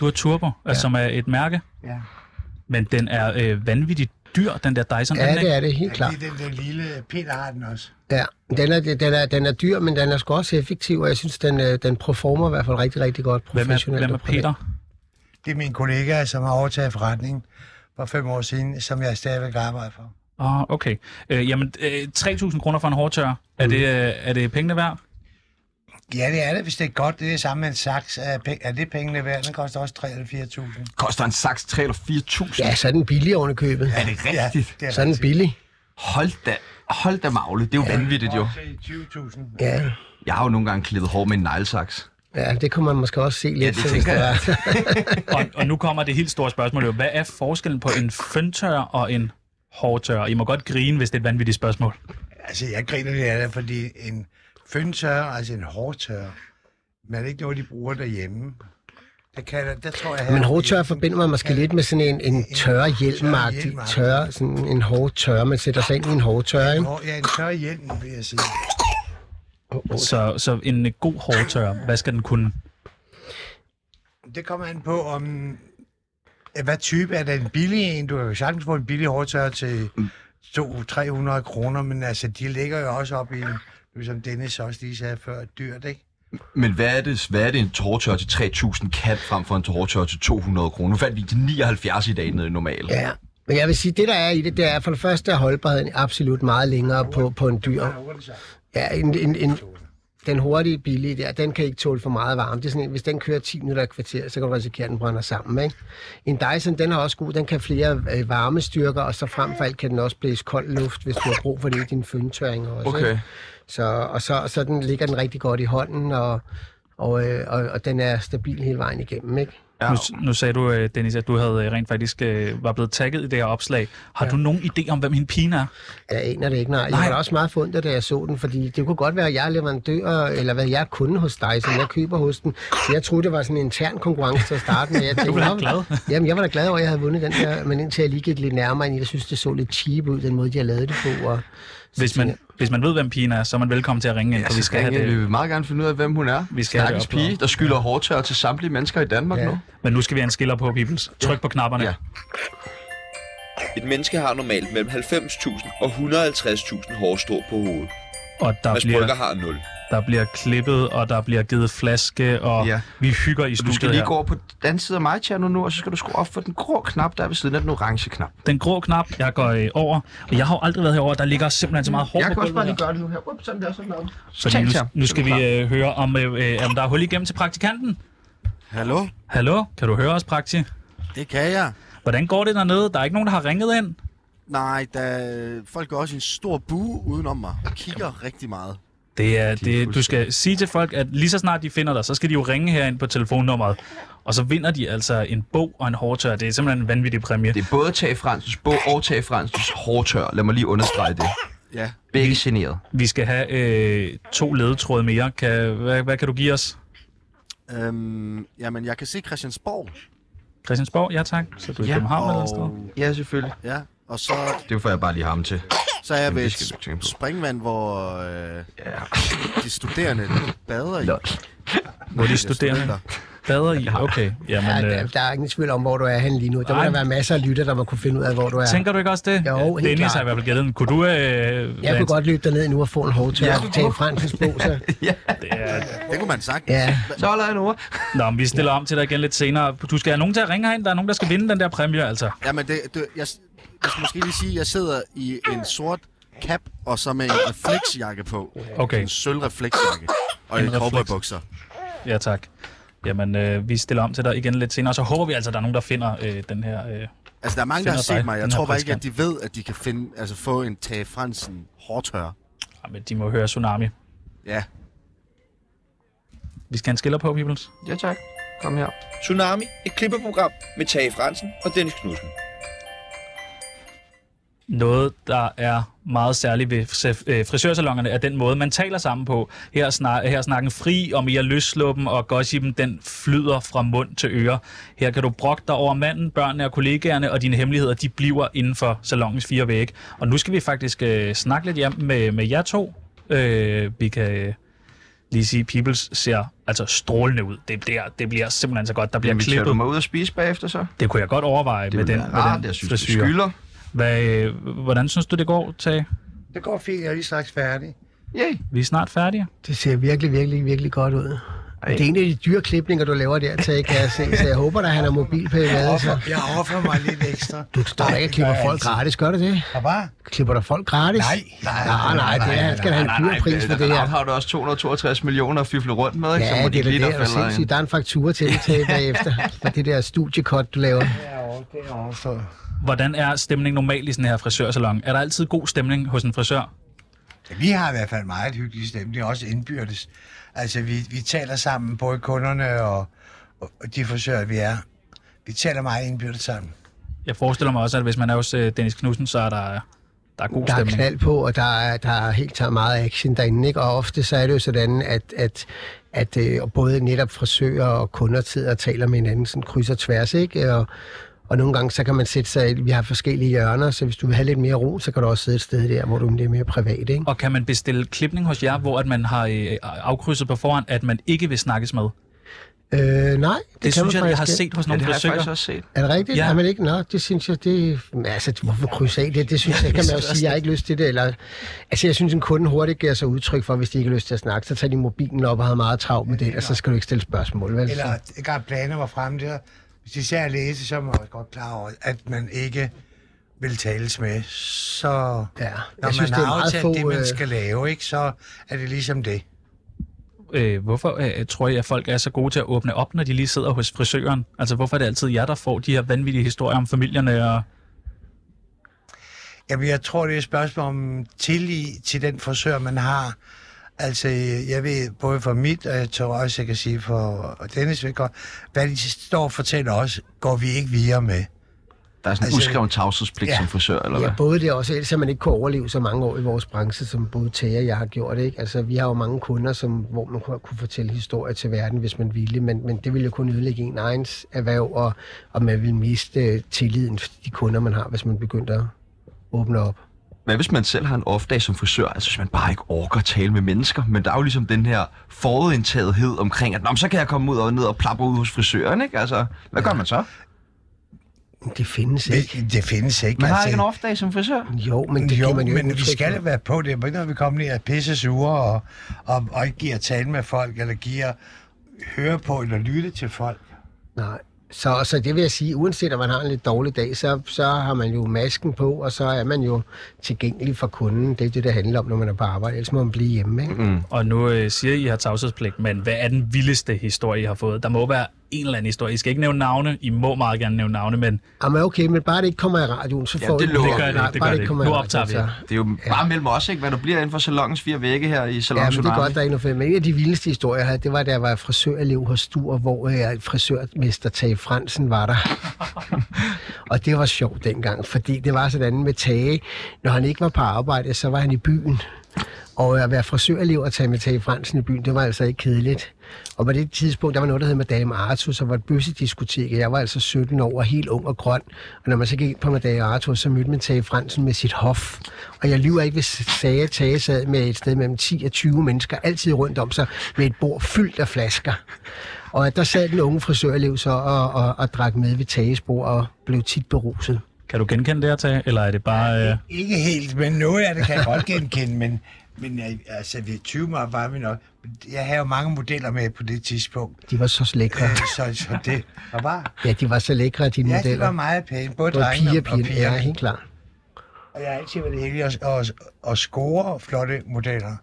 A: Du har Turbo, ja. som er et mærke.
D: Ja.
A: Men den er øh, vanvittigt dyr, den der Dyson.
C: Ja,
A: den,
C: det er det, helt klart.
D: Det er den der lille Peter har den også.
C: Ja. Den, er, den, er, den er dyr, men den er sgu også effektiv, og jeg synes, den, øh, den performer i hvert fald rigtig, rigtig godt
A: Hvem er,
C: professionelt.
A: hvem er
C: og privat.
A: Peter?
D: Det er min kollega, som har overtaget forretningen for fem år siden, som jeg stadigvæk arbejder for.
A: Åh, oh, okay. Øh, jamen, øh, 3.000 kroner for en hårdtør. Er,
C: Mm.
A: det, øh, er det pengene værd?
D: Ja, det er det, hvis det er godt. Det er det samme med en saks. Er, pe- er det pengene værd? Den koster også 3 eller 4.000.
B: Koster en saks 3 eller 4.000?
C: Ja, så er den billig oven i købet.
B: Er det
D: Ja,
B: rigtigt?
D: det er
C: Så er den
D: rigtigt.
C: billig.
B: Hold da, hold da magle. Det er jo ja. vanvittigt, jo.
D: Også i 20.000.
C: Ja.
B: Jeg har jo nogle gange klippet hår med en neglesaks.
C: ja, det kunne man måske også se lidt.
B: det
C: så hvis
B: tænker
C: der
B: jeg.
C: var-
A: Og, og nu kommer det helt store spørgsmål. Jo. Hvad er forskellen på en føntør og en hårdtør? I må godt grine, hvis det er et vanvittigt spørgsmål.
D: Altså, jeg griner lidt af det, fordi en føntørrer, altså en hårdtørrer, men er det ikke noget, de bruger derhjemme? Der, kan, der, der tror jeg...
C: Men hårdtør forbinder man måske lidt med sådan en, en tør hjelmagtig
D: hjelmagtig.
C: tør, sådan en hårdtør. Man sætter sig ind i en hårdtør, ikke?
D: Hvor, ja, en tør hjelm, vil jeg sige.
A: Så, så en øh, god hårdtør, hvad skal den kunne?
D: Det kommer an på, om Hvad type? Er det en billig en? Du kan jo sagtens få en billig hårdtørre til 200-300 kroner, men altså, de ligger jo også op i, en- som Dennis også lige sagde før, dyrt, ikke?
B: Men hvad er det, hvad er det en hårdtørre til 3.000 kan frem for en hårdtørre til 200 kroner? Nu fandt vi til 79 i dag nede i normalt.
C: Ja, men jeg vil sige, det der er i det, det er for det første, at holdbarheden er absolut meget længere på, på en dyr. Ja, en, en, en, den hurtige billige der, den kan ikke tåle for meget varme. Det er sådan en, hvis den kører 10 minutter i kvarter, så kan du risikere, at den brænder sammen. Ikke? En Dyson, den er også god. Den kan flere øh, varmestyrker, og så frem for alt kan den også blæse kold luft, hvis du har brug for det i dine fyndtøringer også.
B: Okay.
C: Ikke? Så, og så, så den ligger den rigtig godt i hånden, og, og, øh, og, og den er stabil hele vejen igennem. Ikke?
A: Nu, nu sagde du, øh, Dennis, at du havde øh, rent faktisk øh, var blevet tagget i det her opslag. Har ja. du nogen idé om, hvem hende pigen er?
C: Jeg aner det ikke, nej. Jeg
A: Nej.
C: var da også meget forundret, da jeg så den, fordi det kunne godt være, at jeg er leverandør, eller hvad, jeg er kunde hos dig, som jeg køber hos den. Så jeg troede, det var sådan en intern konkurrence til at starte med. Jeg tænkte,
A: blev da
C: "Nå,
A: glad."
C: Jamen, jeg var da glad over, at jeg havde vundet den der, men indtil jeg lige gik lidt nærmere ind i det, synes det så lidt cheap ud, den måde, de har lavet det på. Og
A: Hvis man, hvis man ved, hvem pigen er, så er man velkommen til at ringe ind, for vi skal have
B: Vi
A: det.
B: vil meget gerne finde ud af, hvem hun er.
A: Vi skal have det
B: Stakkels
A: opklaret.
B: pige, der skylder hårdtørre til samtlige mennesker i Danmark
C: Ja.
B: nu.
A: Men nu skal vi have en skiller på, Peoples. Tryk på knapperne.
B: Ja.
F: Et menneske har normalt mellem 90.000 og 150.000 hårstrå på hovedet.
A: Og der
F: Mads Brygger
A: bliver,
F: har 0.
A: der bliver klippet, og der bliver givet flaske, og
B: Ja.
A: ja. vi hygger i
B: Så du skal
A: studiet
B: lige
A: her.
B: gå over på den anden side af mig, Tjerno, nu, og så skal du skrue op for den grå knap, der er ved siden af den orange knap.
A: Den grå knap, jeg går øh, over, og jeg har jo aldrig været herover. Der ligger simpelthen så meget hår
B: Jeg
A: på
B: kan også
A: gulvet
B: bare
A: her.
B: lige gøre det nu her. Ups, sådan der, sådan der.
A: Så
B: Tag
A: lige
B: til ham.
A: nu, nu
B: Så er
A: skal vi
B: klar.
A: øh, høre, om, øh, øh, om der er hul igennem til praktikanten.
E: Hallo?
A: Hallo, kan du høre os, Prakti?
E: Det kan jeg.
A: Hvordan går det dernede? Der er ikke nogen, der har ringet ind.
E: Nej, der, folk går også i en stor bue udenom mig og kigger rigtig meget.
A: Det er, det, du skal sige til folk, at lige så snart de finder dig, så skal de jo ringe herind på telefonnummeret. Og så vinder de altså en bog og en hårdtør. Det er simpelthen en vanvittig præmie.
B: Det er både Tage Fransens bog og Tage Fransens hårdtør. Lad mig lige understrege det.
E: Ja.
B: Begge generet.
A: Vi skal have øh, to ledetråde mere. Kan, hvad, hvad kan du give os?
E: Øhm, jamen, jeg kan se Christiansborg.
A: Christiansborg? Ja tak. Så du er i
B: Ja,
A: København eller sådan noget?
E: Og,
B: Ja, selvfølgelig.
E: ja, og så,
B: Det får jeg bare lige ham til.
E: så er jeg
B: Jamen,
E: ved
B: det
E: et
B: skal du ikke tænke på.
E: springvand, hvor øh,
B: Ja.
E: de studerende bader i.
B: Lol.
A: Hvor de
E: Ja,
A: studerende bader i? Okay.
C: Ja,
A: Jamen,
C: der,
A: øh,
C: der, er ingen tvivl om, hvor du er henne lige nu. Der må
A: Nej.
C: der være masser af lytter, der må kunne finde ud af, hvor du er.
A: tænker du ikke også det?
C: Jo,
A: Ja,
C: helt
A: Dennis
C: klart.
A: har i hvert fald gættet den. Kunne du... Øh,
C: jeg
A: være
C: kunne
A: en-
C: godt løbe derned nu og få en hårdtør ja, til en fransk bog, så...
A: Det er,
E: Det kunne man sagt.
C: Ja.
B: Så holder jeg en ord.
A: Nå, men vi stiller om til dig igen lidt senere. Du skal have nogen til at ringe herind. Der er nogen, der skal vinde den der præmie, altså.
E: Jamen, det, det, jeg, jeg skal måske lige sige, at jeg sidder i en sort cap, og så med en refleksjakke på.
A: Okay.
E: En sølvrefleksjakke. Og
A: En
E: en cowboybukser.
A: Ja, tak. Jamen, øh, vi stiller om til dig igen lidt senere, så håber vi altså, at der er nogen, der finder øh, den her... Øh.
E: Altså, der er mange, der
A: Finder
E: har
A: dig,
E: set mig. Jeg
A: den her
E: tror bare ikke, at de ved, at de kan finde, altså, få en Tage Fransen hårdtør.
A: Jamen, de må høre Tsunami.
E: Ja.
A: Vi skal have en skiller på, Peoples.
B: Ja, tak. Kom her.
F: Tsunami, et klippeprogram med Tage Fransen og Dennis Knudsen.
A: Noget, der er meget særligt ved fris- øh, frisørsalongerne, er den måde, man taler sammen på. Her, snak, her er snakken fri og mere løsluppen, og gossipen, den flyder fra mund til øre. Her kan du brokke dig over manden, børnene og kollegaerne, og dine hemmeligheder, de bliver inden for salongens fire vægge. Og nu skal vi faktisk øh, snakke lidt hjem med, med jer to. Øh, vi kan øh, lige sige, Peoples ser altså strålende ud. Det bliver, det bliver simpelthen så godt. Der bliver
B: Jamen, tager du
A: klippet.
B: mig ud og spise bagefter så?
A: Det kunne jeg godt overveje
B: Det
A: med den,
B: ville være rart,
A: med den
B: jeg synes, det
A: frisyr.
B: skylder.
A: Hvad, øh, hvordan synes du, det går, Tage?
D: Det går fint, jeg er lige straks færdig.
B: Yay.
A: Vi er snart færdige.
C: Det ser virkelig, virkelig, virkelig godt ud. Ej. Det er en af de dyre klipninger, du laver der, Tage, kan jeg se. Så jeg håber da, han er mobil på i
D: Jeg
C: hvad, så.
D: offrer, jeg offrer mig lidt ekstra.
C: Du står der ikke og klipper folk gratis, gør du det?
D: Hvad?
C: Klipper der folk gratis?
D: Nej.
C: nej, nej, nej, nej, det er, han skal da have en dyr pris for det
B: der
C: her.
B: har du også 262 millioner at fifle rundt med, ikke?
C: Ja, det er
B: lige
C: da det, er sindssygt. Der er en faktura til det Tage, bagefter. For det der studiekort, du laver.
D: Det er overstået.
A: Hvordan er stemningen normalt i sådan her frisørsalon? Er der altid god stemning hos en frisør?
D: Ja, vi har i hvert fald meget hyggelig stemning, også indbyrdes. Altså, vi, vi taler sammen, både kunderne og, og de forsøger, vi er. Vi taler meget indbyrdes sammen.
C: Altså.
A: Jeg forestiller mig også, at hvis man er hos øh, Dennis Knudsen, så er der, der er god
C: Der er
A: stemning.
C: knald på, og der er, der er helt taget meget action derinde, ikke? Og ofte så er det jo sådan, at, at, at øh, både netop frisører og kunder sidder og taler med hinanden sådan kryds og tværs, ikke? Og, og nogle gange, så kan man sætte sig, i- vi har forskellige hjørner, så hvis du vil have lidt mere ro, så kan du også sidde et sted der, hvor du er lidt mere privat, ikke?
A: Og kan man øh, bestille klipning hos jer, hvor at man har øh, afkrydset på forhånd, at man ikke vil snakkes med?
C: Øh, nej,
A: Det,
C: det,
A: det
C: kan
A: synes
C: man
A: jeg, jeg har
C: faktisk ikke.
A: set hos
F: Ja,
A: nogle
F: det har jeg
A: frisører.
F: faktisk også set.
C: Er det rigtigt?
A: Ja.
C: Ja. Er man ikke? Nå, det synes jeg, det... men Altså, hvorfor krydse af det? Det synes jeg, kan man jo sige, jeg har ikke lyst til det. Eller, altså, jeg synes, en kunde hurtigt giver sig udtryk for, hvis de ikke har lyst til at snakke, så tager de mobilen op og har meget travlt med det, ellers så skal du ikke stille spørgsmål, vel?
D: Eller at planer var fremme der. Hvis især at læse, så er man også godt klar over, at man ikke vil tales med. Så
C: Ja, jeg
D: når man
C: synes, det er
D: har
C: meget
D: aftalt
C: få,
D: det, man
C: øh,
D: skal lave, ikke, så er det ligesom det.
A: Øh, hvorfor øh, tror I, at folk er så gode til at åbne op, når de lige sidder hos frisøren? Altså, hvorfor er det altid jer, der får de her vanvittige historier om familierne? Og...
D: Jamen, jeg tror, det er et spørgsmål om tillid til den frisør, man har. Altså, jeg ved både for mit, og jeg tror også, jeg kan sige for Dennis vedkommende, hvad de står og fortæller os, går vi ikke videre med.
B: Der er sådan en
D: Altså-
B: uskreven tavshedspligt
D: Ja.
B: som frisør, eller hvad?
C: Ja, både det og også, ellers har man ikke kunne overleve så mange år i vores branche, som både Thea og jeg har gjort. Ikke? Altså, vi har jo mange kunder, som, hvor man kunne, kunne fortælle historier til verden, hvis man ville, men, men det ville jo kun ødelægge en egens erhverv, og, og man ville miste øh, tilliden til de kunder, man har, hvis man begyndte at åbne op.
B: Hvad hvis man selv har en off-dag som frisør? Altså hvis man bare ikke orker at tale med mennesker, men der er jo ligesom den her forudindtagethed omkring, at Nå, men så kan jeg komme ud og ned og plapper ud hos frisøren, ikke? Altså, hvad gør man så?
C: Men Det findes ikke.
D: Det, det findes ikke. altså.
B: Man har ikke en off-dag som frisør.
C: Jo, men det
D: jo,
C: kan man jo
D: men
C: ikke
D: vi
C: udtrykke
D: skal
C: for.
D: da være på det. Men ikke når vi kommer ned og er pisse sure og, og, og ikke giver tale med folk, eller giver høre på eller lytte til folk.
C: Nej. Så, så det vil jeg sige, uanset om man har en lidt dårlig dag, så, så har man jo masken på, og så er man jo tilgængelig for kunden. Det er det, det handler om, når man er på arbejde. Ellers må man blive hjemme, ikke? Mm.
A: Og nu øh, siger I, at I har tavshedspligt, men hvad er den vildeste historie, I har fået? Der må være en eller anden historie. I skal ikke nævne navne. I må meget gerne nævne navne, men
C: Jamen okay, men bare det ikke kommer i radioen, så
B: Ja,
C: får
B: det
C: I-
B: lover
A: det gør det
C: Nej,
A: ikke. Det
C: bare
A: gør det
C: det
A: ikke.
C: kommer i
A: Nu
C: radioen, altså.
A: optager vi.
C: så-
B: Det er jo bare mellem os, ikke? Hvad der bliver inden for salongens fire vægge her i Salon
C: Ja, men det er
B: Tsunami.
C: godt, der er ikke noget fedt. Men en af de vildeste historier, jeg havde, det var, da jeg var frisørelev hos Stur, hvor øh, frisørmester Tage Fransen var der. og det var sjovt dengang, fordi det var sådan med Tage, når han ikke var på arbejde, så var han i byen. Og at være frisørelev og tage med Tage Fransen i byen, det var altså ikke kedeligt. Og på det tidspunkt, der var noget, der hed Madame Artus, og var et bøssediskotek, og jeg var altså 17 år og helt ung og grøn. Og når man så gik ind på Madame Artus, så mødte man Tage Fransen med sit hof. Og jeg lyver ikke, hvis sagde, at Tage sad med et sted mellem 10 og 20 mennesker, altid rundt om sig, med et bord fyldt af flasker. Og at der sad den unge frisørelev så og, og, og drak med ved Tages bord og blev tit beruset.
A: kan du genkende det her, Tage? Eller er det bare... Øh...
D: Ikke helt, men noget af det kan jeg godt genkende, men, men jeg- altså, vi er 20 år var vi nok. Jeg havde jo mange modeller med på det tidspunkt,
C: De var så lækre.
D: Øh, så, så det var bare...
C: Ja, de var så lækre, de
D: Ja, det
C: modeller.
D: var meget pænt, både
C: det var
D: drenge
C: piger,
D: og, og
C: piger.
D: piger.
C: Ja, helt klart.
D: Og jeg har altid været heldig at, at, at score flotte modeller.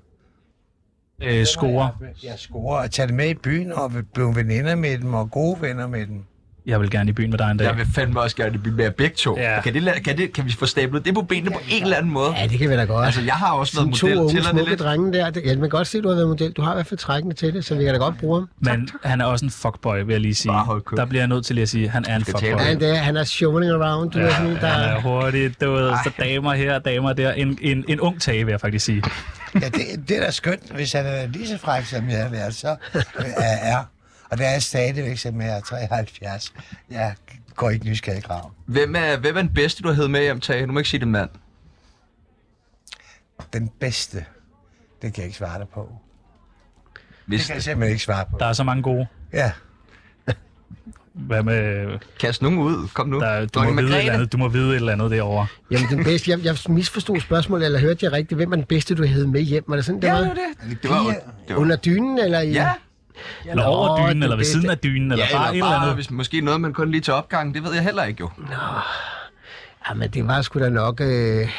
A: Øh, score.
D: Jeg scorer og tager det med i byen og blive veninder med dem og gode venner med dem.
A: Jeg vil gerne i byen med dig en dag.
B: Jeg vil fandme også gerne blive med begge to.
A: Ja.
B: Kan, det, la- kan, det, kan vi få stablet det på benene på en eller anden måde?
C: Ja, det kan vi da godt.
B: Altså, jeg har også været
C: Sådan
B: model.
C: to unge
B: Tæller det
C: smukke
B: lidt?
C: drenge der. Det, ja, man kan godt se, at du har været model. Du har i hvert fald trækkende til det, så vi kan da godt bruge ham.
A: Men han er også en fuckboy, vil jeg lige sige.
B: Bare hold kæft.
A: Der bliver jeg nødt til lige at sige, at han er en
B: Skal tale
A: fuckboy.
B: om
C: Han, der, han er showing around. Du ja, er sådan en, der...
A: Han er hurtig, du ved, så damer her og damer der. En, en, en ung tage, vil jeg faktisk sige.
D: Ja, det, det er da skønt, hvis han er lige så fræk, som jeg har været, så er er. Og det er jeg stadigvæk, som jeg er 73. Jeg går ikke nysgerrig i graven.
B: Hvem er, hvem er den bedste, du har heddet med hjem, Tage? Du må ikke sige det mand.
D: Den bedste, det kan jeg ikke svare dig på. Det
B: Hvis
D: kan jeg simpelthen ikke svare på.
A: Der er så mange gode.
D: Ja,
A: Hvad med,
B: Kast nogen ud. Kom nu.
A: der, du, må vide
B: Dronning
A: et
B: Margrethe.
A: eller andet, du må vide et eller andet derovre.
C: Jamen, den bedste, jeg, jeg misforstod spørgsmålet, eller hørte jeg rigtigt, hvem er den bedste, du havde med hjem? Var det sådan, det
B: Ja,
C: var?
B: det var det. Det var, jo- det var,
C: Under dynen, eller i...
B: ja,
A: Eller over
C: Nå,
A: dynen,
C: den
A: eller ved
C: bedste.
A: siden af dynen, eller
B: ja,
A: bare et
B: eller
A: eller
B: bare,
A: andet.
B: hvis, måske noget, man kun lige til opgangen. Det ved jeg heller ikke jo.
C: Jamen, Ah, det var sgu da nok... Øh... Ej,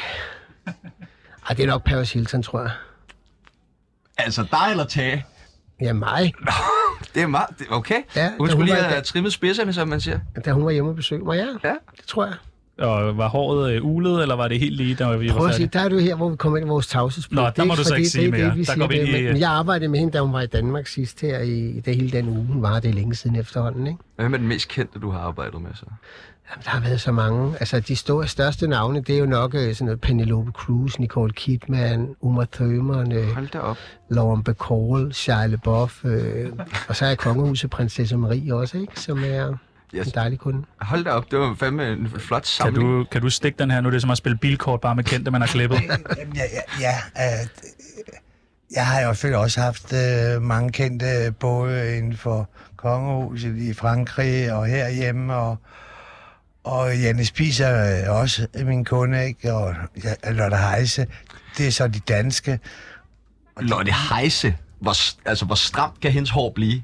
C: det er nok Paris Hilton, tror jeg.
B: Altså dig eller Tage.
C: Ja, mig.
B: Det er meget, det, okay.
C: Ja,
B: hun
C: da
B: skulle
C: hun
B: lige
C: var i
B: have
C: gang.
B: trimmet spidserne, som man siger.
C: Da hun var hjemme og besøgte mig, ja.
B: Ja.
C: Det tror jeg.
A: Og var håret øh, ulet, eller var det helt lige, der vi
C: Prøv
A: var
C: at se,
A: færdige?
C: der er du her, hvor vi kommer ind i vores tavshedspligt.
A: Nå, der
C: Det er
A: må du så
C: for
A: ikke
C: det-
A: sige
C: det er
A: mere.
C: Det, vi
A: Der
C: siger,
A: går vi
C: det,
A: ind i,
C: men,
A: øh,
C: men jeg arbejdede med hende, da hun var i Danmark sidst her i, i det hele den uge, hun var. Det er længe siden efterhånden, ikke?
B: Hvem er den mest kendte, du har arbejdet med så?
C: Jamen, der har været så mange. Altså, de store, største navne, det er jo nok øh, sådan noget Penelope Cruz, Nicole Kidman, Uma Thurman, øh,
B: Hold da op.
C: Lauren Bacall, Shia LaBeouf, øh, og så er kongehuset prinsesse Marie også, ikke? Som er
B: Yes.
C: en dejlig kunde.
B: Hold da op, det var fandme en flot
A: Kan
B: samling.
A: du, kan du stikke den her? Nu er det som at spille bilkort bare med kendte, man har klippet.
D: Jamen, ja, ja, ja øh, Jeg har jo selvfølgelig også haft øh, mange kendte, både inden for kongehuset i Frankrig og herhjemme, og, og Janne Spiser er øh, også min kunde, ikke? og ja, Lotte Heise. Det er så de danske.
B: Lotte Heise, hvor, s- altså, hvor stramt kan hendes hår blive?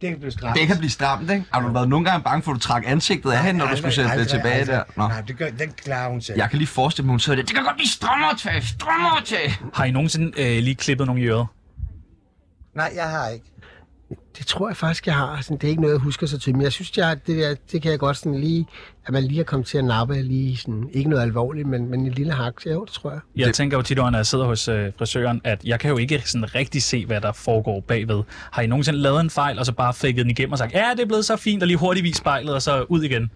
D: Det kan blive stramt.
B: Det kan blive stramt, ikke? Har du været nogle gange bange for, at du trak ansigtet af hende, når du skulle sætte det tilbage der? Nå.
D: Nej, det gør, den klarer hun selv.
B: Jeg kan lige forestille mig, hun sidder der. Det kan godt blive strammere til, strammere til.
A: Har I nogensinde øh, lige klippet nogen i øret?
D: Nej, jeg har ikke.
C: Det tror jeg faktisk, jeg har. Sådan, det er ikke noget, jeg husker så til, men jeg synes, jeg, det, der, det kan jeg godt sådan lige, at man lige har kommet til at nappe lige sådan, ikke noget alvorligt, men, men en lille hak. Så jo, det tror jeg.
A: Jeg det... tænker jo tit over, når jeg sidder hos øh, frisøren, at jeg kan jo ikke sådan rigtig se, hvad der foregår bagved. Har I nogensinde lavet en fejl, og så bare fækket den igennem og sagt, ja, det er blevet så fint, og lige hurtigt vist spejlet, og så ud igen?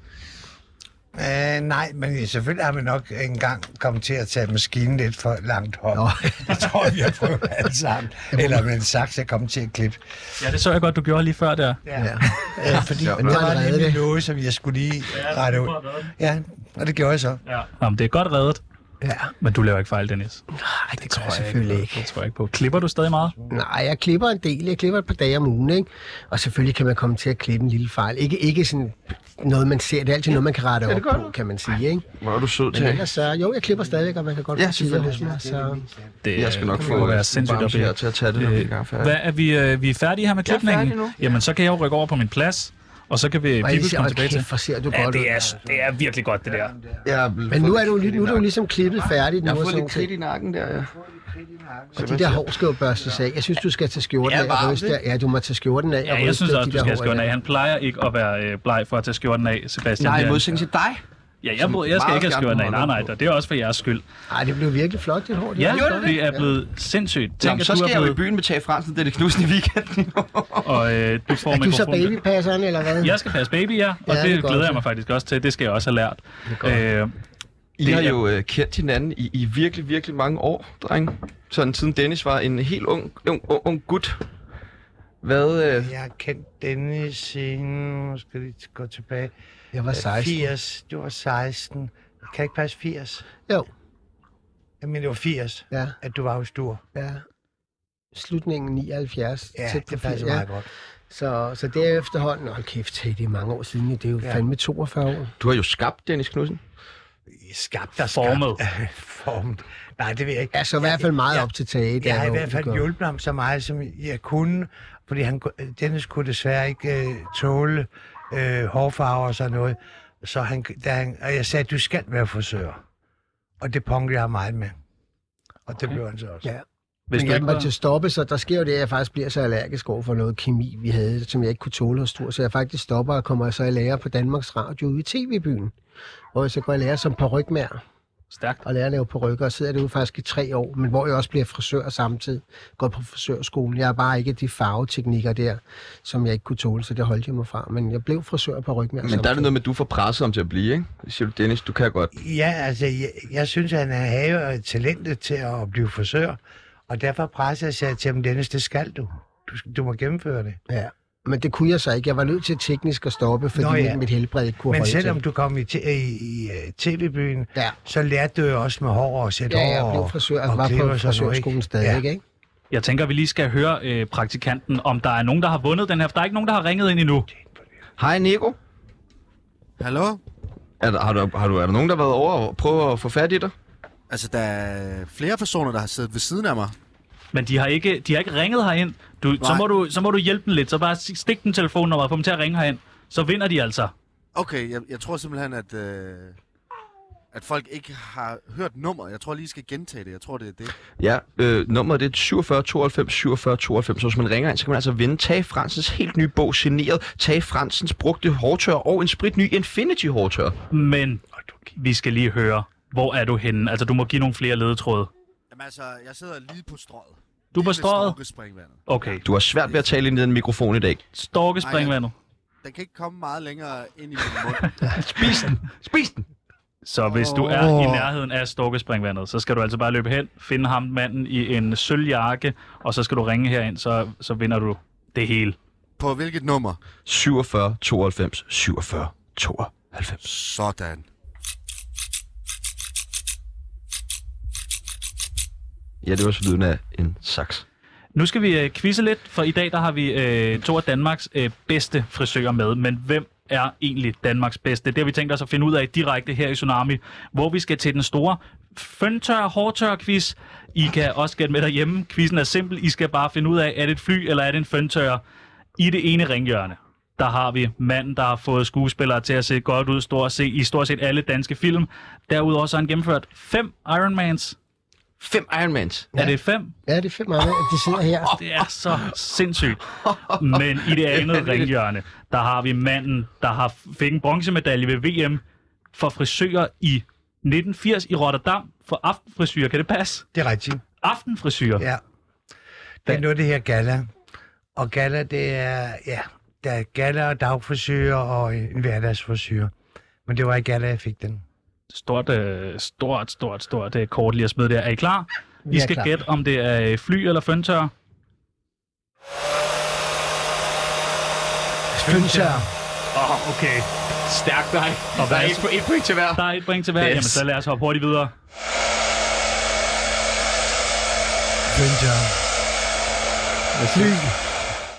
D: Øh, nej, men selvfølgelig har vi nok engang kommet til at tage maskinen lidt for langt op. Det tror jeg, vi har prøvet alle sammen. Eller med en saks er kommet til at klippe.
A: Ja, det så jeg godt, du gjorde lige før der.
D: Ja. ja. Øh, fordi ja,
C: nu
D: der
C: har
D: var
C: du
D: lige
C: reddet
D: min
C: det.
D: låge, som jeg skulle lige rette ud. Ja, og det gjorde jeg så.
A: Ja. Jamen, det er godt reddet.
C: Ja.
A: Men du laver ikke fejl, Dennis. Nej,
C: det, det tror jeg selvfølgelig ikke.
A: Det tror jeg ikke på. Klipper du stadig meget?
C: Nej, jeg klipper en del. Jeg klipper et par dage om ugen, ikke? Og selvfølgelig kan man komme til at klippe en lille fejl. Ikke, ikke sådan noget, man ser. Det er altid noget, man kan rette op på, kan man sige, ikke?
B: Hvor er du sød
C: Men
B: til.
C: ellers så, jo, jeg klipper stadigvæk, og man kan godt
B: Ja,
C: få tider
B: selvfølgelig.
C: hos mig, så...
A: Det,
B: Jeg skal nok
A: det
B: få
A: må være
B: en
A: sindssygt
B: bamse
A: op i-
B: her til at tage det, når vi er i gang færdige.
A: Øh, Hvad er vi, øh, vi er færdige her med
H: Jeg er
A: klipningen?
H: færdig nu.
A: Jamen, så kan jeg jo rykke over på min plads, og så kan vi
C: Og jeg
A: Pibels
C: siger,
A: komme
C: "Hold
A: tilbage til.
C: kæft, hvor ser du
A: Ja,
C: godt
A: det
C: ud.
A: er, det er virkelig godt, det der.
B: Jeg
C: Men nu er du, lige- nu er du ligesom klippet færdigt.
B: Jeg har
C: nu, og
B: fået
C: sådan
B: lidt kridt
C: ting.
B: i nakken der, ja.
C: Og de der hår skal jo børstes af. Jeg synes, du skal tage skjorten
B: Ja,
C: af.
B: varmt,
C: Og ryste, ja, du må tage skjorten af. og
A: Ja, jeg
C: ryste
A: synes også,
C: de
A: du
C: der
A: skal have
C: hår
A: skjorten af.
C: der.
A: Han plejer ikke at være øh, bleg for at tage skjorten af, Sebastian.
B: Nej, i
A: Det er-
B: modsætning til dig.
A: Ja, jeg, ved, jeg skal
B: meget
A: ikke have
B: gerne
A: skjorten af.
B: må
A: Nej,
B: holde
A: nej, og det er også for jeres skyld.
C: Ej, det blev virkelig flot, dit hår. Det
A: Ja,
C: var flot.
A: det er blevet sindssygt. Tænk,
B: Jamen,
A: at
B: så
A: du
B: skal
A: er
B: jeg jo i
A: blevet,
B: byen med Tage Fransen, det er det knusende i weekenden.
A: og øh, du får
C: Er du så
A: mikrofonen.
C: babypasseren, eller hvad?
A: Jeg skal passe baby, ja, og
C: Ja,
A: ja,
C: det
A: det,
C: er
A: det
C: godt,
A: glæder
C: ja.
A: jeg mig faktisk også til. Det skal jeg også have lært. Øh,
B: I
A: Det
B: har
A: er-
B: jo øh, kendt hinanden i, i virkelig, virkelig mange år, dreng. Sådan siden Dennis var en helt ung, ung, ung, ung gut. Hvad, øh,
D: Jeg har kendt Dennis siden, nu skal lige gå tilbage,
C: Jeg var 16.
D: 80, du var 16. Kan ikke passe 80?
C: Jo,
D: Jeg mener, det var 80,
C: ja,
D: at du var hos Stur.
C: ja. Slutningen 79.
D: Ja,
C: tæt på
D: det
C: 80,
D: passer
C: ja.
D: meget godt.
C: Så, så det er efterhånden, hold kæft, hey, det er mange år siden, ja. det er jo
D: Ja.
C: fandme 42 år.
B: du har jo skabt Dennis Knudsen.
D: Skabt og
A: Formet.
D: Skabt. Formet. Nej, det ved jeg ikke.
C: Ja, så Altså, i hvert fald meget
D: Ja.
C: op til tage.
D: Jeg har i hvert fald hjulpet ham så meget, som jeg kunne, fordi han, ku- Dennis kunne desværre ikke øh, tåle øh, hårfarver og sådan noget. Så han, da han, og jeg sagde, du skal være frisør. Og det punkede jeg ham meget med. Og det blev han så også.
C: Ja.
A: hvis
C: Men
A: du
C: jeg
A: ikke
C: måtte
A: var,
C: til stoppe, så der sker jo det, at jeg faktisk bliver så allergisk over for noget kemi, vi havde, som jeg ikke kunne tåle hos Stor. Så jeg faktisk stopper og kommer så i lære på Danmarks Radio ude i TV-byen, hvor jeg så går i lære som parrykmager.
A: Stærkt.
C: Og lærer at lave perukker, og sidder derude faktisk i tre år, men hvor jeg også bliver frisør samtidig. Går på frisørskolen. Jeg har bare ikke de farveteknikker der, som jeg ikke kunne tåle, så det holdt jeg mig fra. Men jeg blev frisør og parrykmager
B: Men der er det noget med, at du får presset ham til at blive, ikke? Så siger du, Dennis, du kan godt.
D: Ja, altså, jeg, jeg synes, han havde talentet til at blive frisør. Og derfor pressede jeg sig til ham, Dennis, det skal du. Du, skal- du må gennemføre det.
C: Ja, men det kunne jeg så ikke. Jeg var nødt til teknisk at stoppe, fordi
D: Nå
C: Nå,
D: ja.
C: ja. mit helbred ikke kunne
D: Men
C: holde
D: selvom
C: til.
D: du kom i, t- i, i øh, tv-byen,
C: Ja.
D: så lærte du jo også med hår og sætte
C: Ja,
D: hår.
C: jeg blev
D: og-
C: frisør, altså
D: og
C: var
D: klippe
C: på
D: og sådan noget,
C: frisørskolen
D: ikke?
C: stadig, ja. ikke?
A: Jeg tænker, vi lige skal høre øh, praktikanten, om der er nogen, der har vundet den her. For der er ikke nogen, der har ringet ind endnu.
B: Hej, Nico.
E: Hallo?
B: Er der, har du, har du, er der nogen, der har været over og prøvet at få fat i dig?
E: Altså, der er flere personer, der har siddet ved siden af mig.
A: Men de har ikke, de har ikke ringet herind. Du, så,
E: Nej.
A: må du, så må du hjælpe dem lidt. Så bare stik den telefonnummer og få dem til at ringe herind. Så vinder de altså.
E: Okay, jeg, jeg tror simpelthen, at, øh, at folk ikke har hørt nummer. Jeg tror lige, jeg skal gentage det. Jeg tror, det er det.
B: Ja, øh, nummeret det er 47 92 47 92, så hvis man ringer ind, så kan man altså vinde Tage Fransens helt nye bog, generet Tage Fransens brugte hårtør og en spritny Infinity hårtør.
A: Men vi skal lige høre, hvor er du henne? Altså, du må give nogle flere ledetråde.
E: Jamen altså, jeg sidder lige på strået.
A: Du er på
E: Lige ved
A: strøget?
E: Storkespringvandet.
A: Okay.
B: Du har svært ved at tale ind i den mikrofon i dag.
A: Storkespringvandet.
E: Den kan ikke komme meget længere ind i min mund.
B: Spis den! Spis den!
A: Så hvis du er i nærheden af Storkespringvandet, så skal du altså bare løbe hen, finde ham manden i en sølvjakke, og så skal du ringe herind, så, så vinder du det hele.
E: På hvilket nummer?
B: 47 92 47 92.
E: Sådan.
B: Ja, det var så lyden af en saks.
A: Nu skal vi øh, quizze lidt, for i dag der har vi øh, to af Danmarks øh, bedste frisører med. Men hvem er egentlig Danmarks bedste? Det har vi tænkt os at finde ud af direkte her i Tsunami, hvor vi skal til den store føntør hårdtør quiz. I kan også gætte med derhjemme. Quizzen er simpel. I skal bare finde ud af, er det et fly eller er det en føntør? I det ene ringhjørne, der har vi manden, der har fået skuespillere til at se godt ud stort set, i stort set alle danske film. Derudover så har han gennemført fem Ironmans.
B: Fem Ironmans.
A: Ja. Er det fem?
C: Ja, det er fedt meget, at de sidder her.
A: Det er så sindssygt. Men i det andet ringhjørne, der har vi manden, der har fik en bronzemedalje ved VM for frisører i 1980 i Rotterdam for aftenfrisyrer. Kan det passe?
D: Det er rigtigt.
A: Aftenfrisyrer. Ja.
D: Ja. Det er noget, det her gala. Og gala, det er, ja, der er gala og dagforsyre og en hverdagsforsyre. Men det var ikke gala, jeg fik den.
A: Stort, øh, stort, stort, stort øh, kort lige at smide der. Er I klar? I
C: er
A: skal
C: klar.
A: gætte, om det er øh, fly eller føntør.
D: Føntør.
A: Åh, oh, okay.
I: Stærk dig.
A: Og
I: Der
A: hvad
I: er
A: er
I: et, et point til hver.
A: Der er et point til hver.
I: Yes.
A: Jamen, så lad os hoppe hurtigt videre.
D: Føntør. Fly.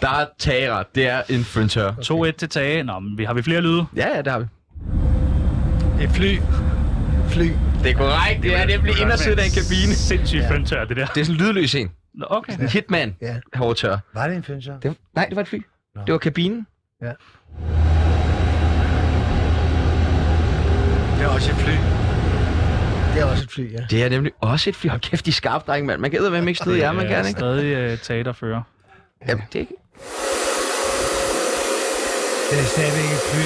B: Der er Tara. Det er en føntør.
A: 2-1 til Tage. Nå, men vi har vi flere lyde?
B: Ja, ja, det har vi.
D: Det er fly. Fly.
B: Det er korrekt. Det er nemlig ind og sidde i en kabine.
A: Sindssygt ja. føntør, det der.
B: Det er sådan en lydløs en.
A: Nå, okay.
B: En hitman.
D: Ja.
B: Hårdtør.
D: Var det en føntør?
B: Det, nej, det var et fly. Det var kabinen.
D: Det er også et fly.
C: Det er også et fly, ja.
B: Det er nemlig også et fly. Hold kæft, de er skarpe, drenge, mand. Man kan eddermame ikke snide jer, man
A: er
B: kan, ikke?
A: stadig uh, Tage, der fører.
B: Jamen, det er ikke...
D: Det er stadigvæk et fly.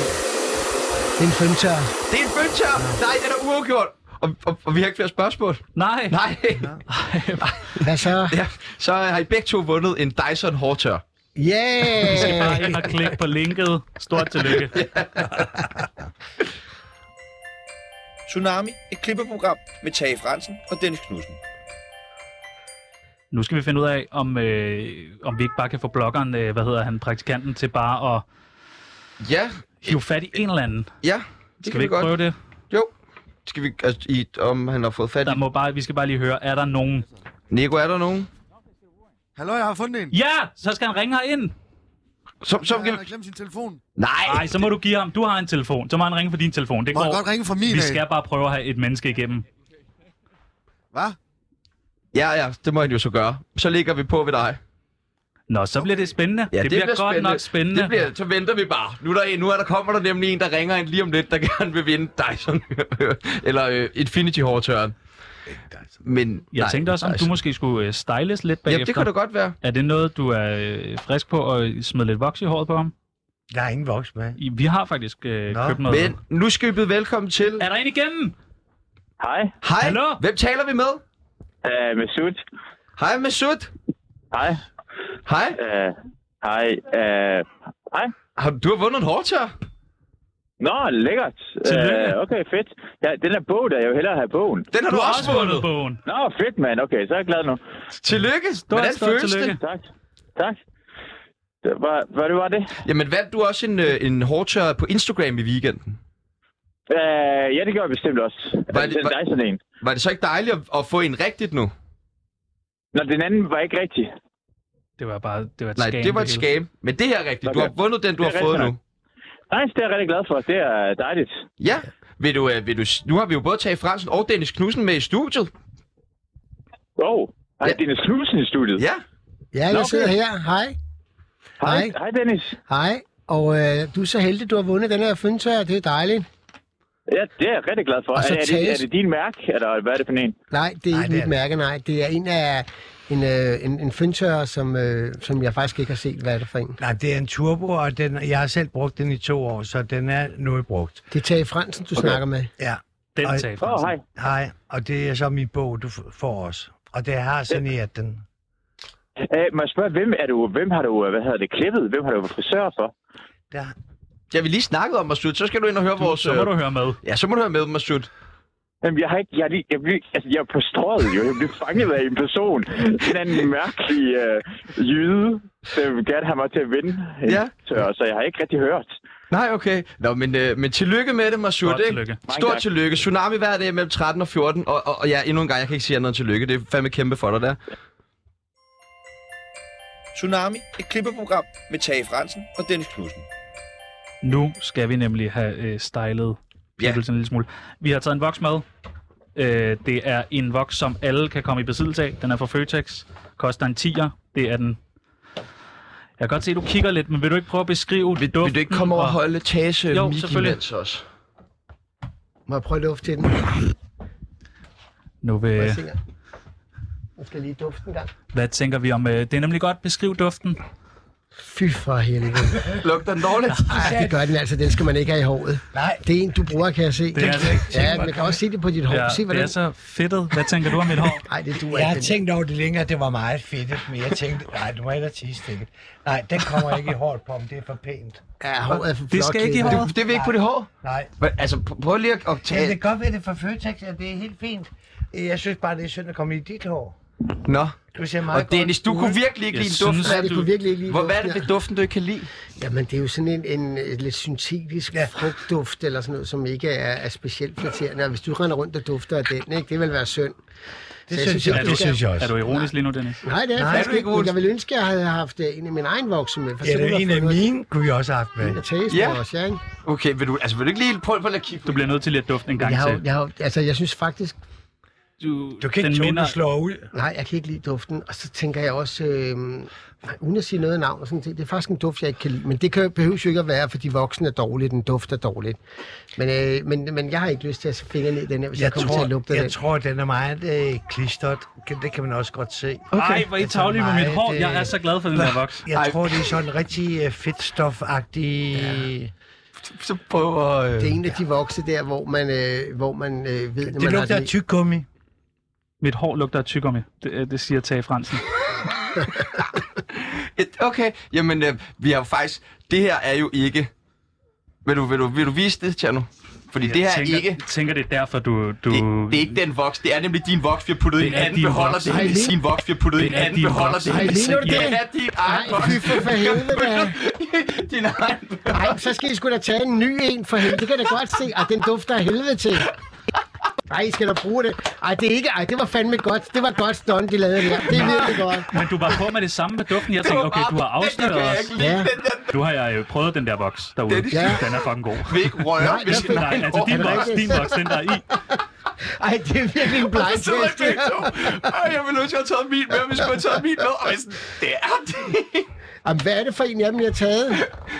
C: Det er en femtør.
B: Det er en føntør! Nej, den er uafgjort! Og, og, og, vi har ikke flere spørgsmål.
A: Nej, Nej.
B: Nej.
C: Hvad så?
B: ja. Så øh, har I begge to vundet en Dyson hårdtør.
C: Yeah!
A: bare ind og klik på linket. Stort tillykke.
F: Tsunami, et klippeprogram med Tage Fransen og Dennis Knudsen.
A: Nu skal vi finde ud af, om, øh, om vi ikke bare kan få bloggeren, øh, hvad hedder han, praktikanten, til bare at
B: Ja,
A: hive fat i en eller anden.
B: ja. Det
A: Skal
B: kan
A: vi
B: vi
A: ikke
B: godt.
A: prøve det?
B: Jo. Skal vi, altså, i, om han har fået fat i...
A: Der må bare, vi skal bare lige høre, er der nogen?
B: Nico, er der nogen?
E: Hallo, jeg har fundet en.
A: Ja, så skal han ringe ind.
B: Som, som
E: Han
B: kan...
E: har glemt sin telefon.
B: Nej!
A: Nej, så må du give ham. Du har en telefon. Så må han ringe på din telefon. Det
E: Må jeg
A: går.
E: godt ringe fra min
A: Vi
E: af?
A: skal bare prøve at have et menneske igennem.
E: Hvad?
B: Ja, ja, det må han jo så gøre. Så ligger vi på ved dig.
A: Nå, så bliver det spændende.
B: Ja,
A: det, bliver, godt nok spændende.
B: Det bliver, så venter vi bare. Nu, er der en, nu er der, kommer der nemlig en, der ringer ind lige om lidt, der gerne vil vinde Dyson. Eller øh, Infinity hårdtøren. Men, Altså,
A: Jeg tænkte også, om du måske skulle øh, styles lidt bagefter.
B: Jamen, det kunne da godt være.
A: Er det noget, du er øh, frisk på at smide lidt voks i håret på ham?
D: Der er ingen voks med.
A: I- Vi har faktisk øh,
D: Nå,
A: købt noget.
B: Men nu skal vi byde velkommen til...
A: Er der en igennem?
I: Hej,
B: Hej,
A: Hallo?
B: hvem taler vi med?
I: uh, Masud.
B: Hej, Masud.
I: Hej.
B: Hej.
I: Uh, hej. Uh, hej.
B: Har, du har vundet en hårdtør.
I: Nå, lækkert.
A: Tillykke.
I: Øh, okay, fedt. Ja, den her bog, der jeg vil hellere have bogen.
B: Den har du,
A: Du har
B: også vundet.
A: bogen.
I: Nå, fedt, mand. Okay, så er jeg glad nu.
B: Tillykke.
A: Stort,
B: Hvordan
A: stort
B: føles
A: tillykke.
B: det?
I: Tak. Tak. Det var, hvad det var det?
B: Jamen, vandt du også en, øh, en hårdtør på Instagram i weekenden?
I: Øh, ja, det gør jeg bestemt også.
B: Var
I: Var
B: det-
I: det,
B: var-
I: var... Dyson en.
B: Var det så ikke dejligt at, at få en rigtigt nu?
I: Nå, den anden var ikke rigtig.
A: Det var bare det var et
B: Nej,
A: scam,
B: det var et
A: hele.
B: skam. Men det her er rigtigt. Du
I: Okay.
B: har vundet den, du
I: Det
B: har
I: er
B: fået
I: rigtigt
B: nu.
I: Nej, det er jeg rigtig glad for. Det er øh, dejligt.
B: Ja. Vil du, øh, vil du, s- nu har vi jo både Tage Fransen og Dennis Knudsen med i studiet.
I: Wow.
B: Ja.
I: Hej, ja. Dennis Knudsen i studiet.
B: Ja.
C: Ja, jeg sidder her. Hej.
I: Hej.
C: Hej.
I: Hej, Dennis.
C: Hej. Og øh, du er så heldig, du har vundet den her føntør. Det er dejligt.
I: Ja, det er jeg rigtig glad for.
C: Og
I: Er,
C: så
I: er, det,
C: tages-
I: er det din mærke, eller hvad er det for en?
C: Nej, det er
D: Nej,
C: ikke mit
D: det er det.
C: mærke, nej. Det er en af en, øh, en, en føntør, som, øh, som jeg faktisk ikke har set, hvad er det for en.
D: Nej, det er en turbo, og den, jeg har selv brugt den i to år, så den er nu brugt.
C: Det er Tage Fransen, du okay. snakker med.
D: Ja.
A: Den
D: Ej.
A: tager
I: Åh, oh,
A: Fransen.
I: hej.
D: Hej, og det er så min bog, du f- får også. Og det har saneret den.
I: Æ, må jeg spørge, hvem, er du, hvem har du, øh, hvad hedder det, klippet? Hvem har du været frisør for?
D: Der.
B: Ja, vi lige snakkede om Masud. Så skal du ind og høre
A: Du,
B: vores...
A: så må
B: øh,
A: du høre med.
B: Ja, så må du høre med, Masud.
I: Jamen, jeg har ikke, jeg, er lige, jeg, blev, altså, jeg er på strøget jo. Jeg blev fanget af en person. En anden mærkelig øh, jyde, der vil gerne have mig til at vinde. en
B: Ja.
I: Tør, så jeg har ikke rigtig hørt.
B: Nej, okay. Nå, men, øh, men tillykke med det, Masud.
A: Godt
B: ikke?
A: tillykke.
I: Mange
B: Stort
I: tak.
B: tillykke. Tsunami hver dag mellem 13 og 14. Og, og, og ja, endnu en gang, jeg kan ikke sige andet end tillykke. Det er fandme kæmpe for dig der.
F: Tsunami, et klippeprogram med Tage Fransen og Dennis Knudsen.
A: Nu skal vi nemlig have øh, stylet
F: Ja.
A: ja. en lille smule. Vi har taget en voks med. Øh, det er en voks, som alle kan komme i besiddelse af. Den er fra Føtex. Koster en 10'er. Det er den... Jeg kan godt se, at du kigger lidt, men vil du ikke prøve at beskrive
B: Vil, vil du ikke komme over og holde tage
A: Jo,
B: jo, Miki
A: selvfølgelig.
B: imens også?
C: Må jeg prøve at dufte til den?
A: Nu vil,
C: Jeg tænker, Jeg skal lige dufte en gang.
A: hvad tænker vi om? Øh, det er nemlig godt. Beskriv duften.
C: Fy for helvede.
B: Lugter den dårligt?
C: Ej, det gør den altså. Den skal man ikke have i håret. Nej. Det er en, du bruger, kan jeg se.
A: Det er det ikke.
C: Ja, man kan også se det på dit hår.
A: Ja,
C: Ja, se,
A: det er
C: hvordan...
A: så fedtet. Hvad tænker du om mit hår?
C: Nej, det du
D: Jeg
C: ikke.
D: har
C: den.
D: tænkt over det længere, det var meget fedt, men jeg tænkte, nej, du må hellere tige stikket. Nej, den kommer ikke i hårdt på, om det er for pænt.
C: Ja, håret er for
A: Det skal ikke i håret.
B: Det, det vil ikke på det hår.
D: Nej.
B: Men, altså, pr- prøv lige at, at
D: Ja, det
B: tage...
D: kan godt være, det er fra Føtex, og det er helt fint. Jeg synes bare, det er synd at komme i dit hår.
B: Nå.
D: Du ser meget
B: Og Dennis, du
D: ud.
B: kunne virkelig ikke
A: Jeg
B: lide
A: synes,
B: duften.
C: Nej, det
A: du-
C: kunne virkelig ikke lide
B: Hvor, hvad er det
C: duften
B: ved duften, du ikke kan lide?
C: af- Jamen, det er jo sådan en, en, øh, lidt syntetisk ja. frugtduft, eller sådan noget, som ikke er, er specielt flatterende. Og hvis du render rundt og dufter af den, ikke, det vil være synd.
D: Det
C: Så
D: synes jeg,
C: ikke,
D: det
C: du
D: synes jeg
A: Er
D: også.
A: du ironisk lige nu, Dennis?
C: Nej, det er
D: Nej,
C: Nej, faktisk
B: er du
C: ikke.
B: ikke,
C: Men
B: Olsen?
C: jeg ville ønske, at jeg havde haft øh, en af mine egen vokse med. For
D: Ja,
C: så
D: det
C: ville
D: er
C: jeg
D: en
C: få
D: af
C: noget
D: mine, kunne jeg også have haft med.
C: at taste
B: Ja.
C: yeah. også, ja, ikke?
B: Okay, vil du, altså, vil du ikke lige prøve på at kigge
A: Du bliver nødt til lige at dufte en gang
C: Jeg, har, jo-
A: til.
C: jeg, har, jo- altså, jeg synes faktisk,
A: Du,
D: Du kan ikke
A: den
D: tåle,
A: minder,
D: at slå ud.
C: Nej, jeg kan ikke lide duften. Og så tænker jeg også, øh, nej, uden at sige noget af navn, og sådan, det, det er faktisk en duft, jeg ikke kan lide. Men det kan, behøves jo ikke at være, fordi voksne er dårlige, den duft er dårligt. Men, øh, men, men jeg har ikke lyst til at sætte fingre ned i den her, hvis jeg,
D: Jeg
C: jeg kommer til at
D: tror,
C: lugte af den.
D: jeg tror, den er meget øh, klistret. Kan- Det kan man også godt se.
A: okay. Ej, hvor er I
D: Altså,
A: tavlige med
D: nej,
A: mit hår.
D: det-
A: Jeg er så glad for den der voks.
D: Jeg tror, det er sådan rigtig øh, fedtstofagtig... Ja.
B: Så prøv at... Øh...
C: Det er en af de voksne der, hvor man, øh, hvor man øh, ved, at man
D: Det
C: har
D: lugter af
C: lidt-
D: tyggegummi.
A: Mit hår lugter af tyggegummi. Det, øh, det siger Tage Fransen.
B: Et- Okay, jamen, øh, vi har jo faktisk... Det her er jo ikke... Vil du, vil du, vil du vise det, Tjerno? Fordi det her
A: tænker,
B: er ikke...
A: Jeg tænker, det er derfor, du... du
B: Det, det, er ikke den voks. Det er nemlig din voks, vi har puttet i en
A: Det er
B: anden
A: din
B: beholder.
A: voks.
B: Det er
C: Ej,
B: nemlig
C: lige-
B: sin voks, vi har puttet i en
A: Det er
B: anden
A: din
B: beholder.
A: voks.
B: Det er
C: Ej,
B: nemlig
C: ligner det
B: Det
C: det?
B: er din egen
C: Nej,
B: voks.
C: fy for, for helvede da.
B: Din egen
C: Nej, så skal I sgu da tage en ny en for helvede. Det kan jeg da godt se. Ej, den dufter af helvede til. Ej, I skal da bruge det. Ej, det er ikke... Ej, det var fandme godt. Det var godt stunt, de lavede der. Det er virkelig godt.
A: Men du var på med det samme med duften. Jeg tænkte, okay, du har afsløret os.
C: Ja.
A: Nu har jeg jo prøvet den der voks derude.
B: Dennis.
A: Ja.
C: Ja.
A: Den er fucking god.
B: Væk røre.
C: Nej,
B: hvis
C: jeg
B: vi-
C: finder-
A: Nej, altså
C: Er
A: din
C: det
A: voks,
C: rigtigt?
A: din voks, den der er i.
C: Ej, det er virkelig en blind
B: Så er
C: test.
B: vi begge to. Ej, jeg ville ønske, at jeg havde taget min med, hvis jeg havde taget min med. Og jeg er sådan, det er det.
C: Jamen, hvad er det for en af dem, jeg har taget?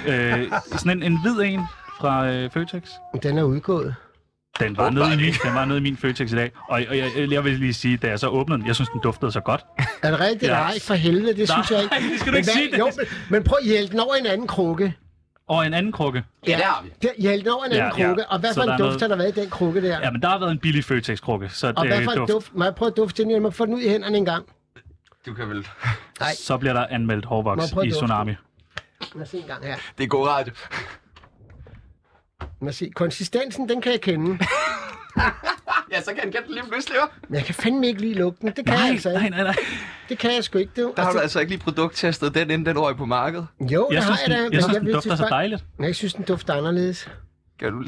A: Øh, sådan en, en hvid en fra øh, Føtex.
C: Den er udgået.
A: Den var, nede i min, den var nede i min Føtex i dag. Og, og jeg, jeg vil lige sige, da jeg så åbnede den, jeg synes, den duftede så godt.
C: Er det rigtigt?
A: Ja.
C: Ja. Nej, for helvede, det synes
A: Nej,
C: jeg ikke.
A: det skal du
C: Men
A: ikke sige,
C: Jo,
A: Dennis.
C: men, men prøv at hjælpe den over i en anden krukke.
A: Og en anden krukke.
C: Ja, der er vi. Hjælpe den over i en
A: Ja,
C: anden
A: ja.
C: krukke. Og hvad
A: Så
C: for
A: der er
C: en duft
A: noget-
C: har der været i den krukke der?
A: Ja, men der har været en billig Føtex-krukke, så
C: og hvad
A: øh,
C: for en
A: duft.
C: duft? Må jeg prøve at dufte den? Jeg må få den ud i hænderne en gang.
B: Du kan vel...
C: Nej.
A: Så bliver der anmeldt
C: Må jeg
A: hårvoks
C: prøve
A: i
C: duften?
A: Tsunami.
C: Lad os se en gang her.
B: Det er god radio.
C: Lad os se. Konsistensen, den kan jeg kende.
B: Ja, så kan han gætte lige løslever.
C: Men jeg kan fandme ikke lige lugten. Det kan jeg
A: Nej,
C: altså ikke.
A: nej, nej, nej.
C: Det kan jeg sgu ikke. Det,
B: Der har du altså ikke lige produkttestet den, inden den røg på markedet.
C: Jo,
A: Jeg
C: det har
A: synes,
C: jeg da.
A: den,
C: men
A: jeg synes, den
C: vil
A: dufter
C: til
A: så
C: folk-
A: dejligt.
C: Nej, jeg synes, den dufter anderledes.
B: Kan du,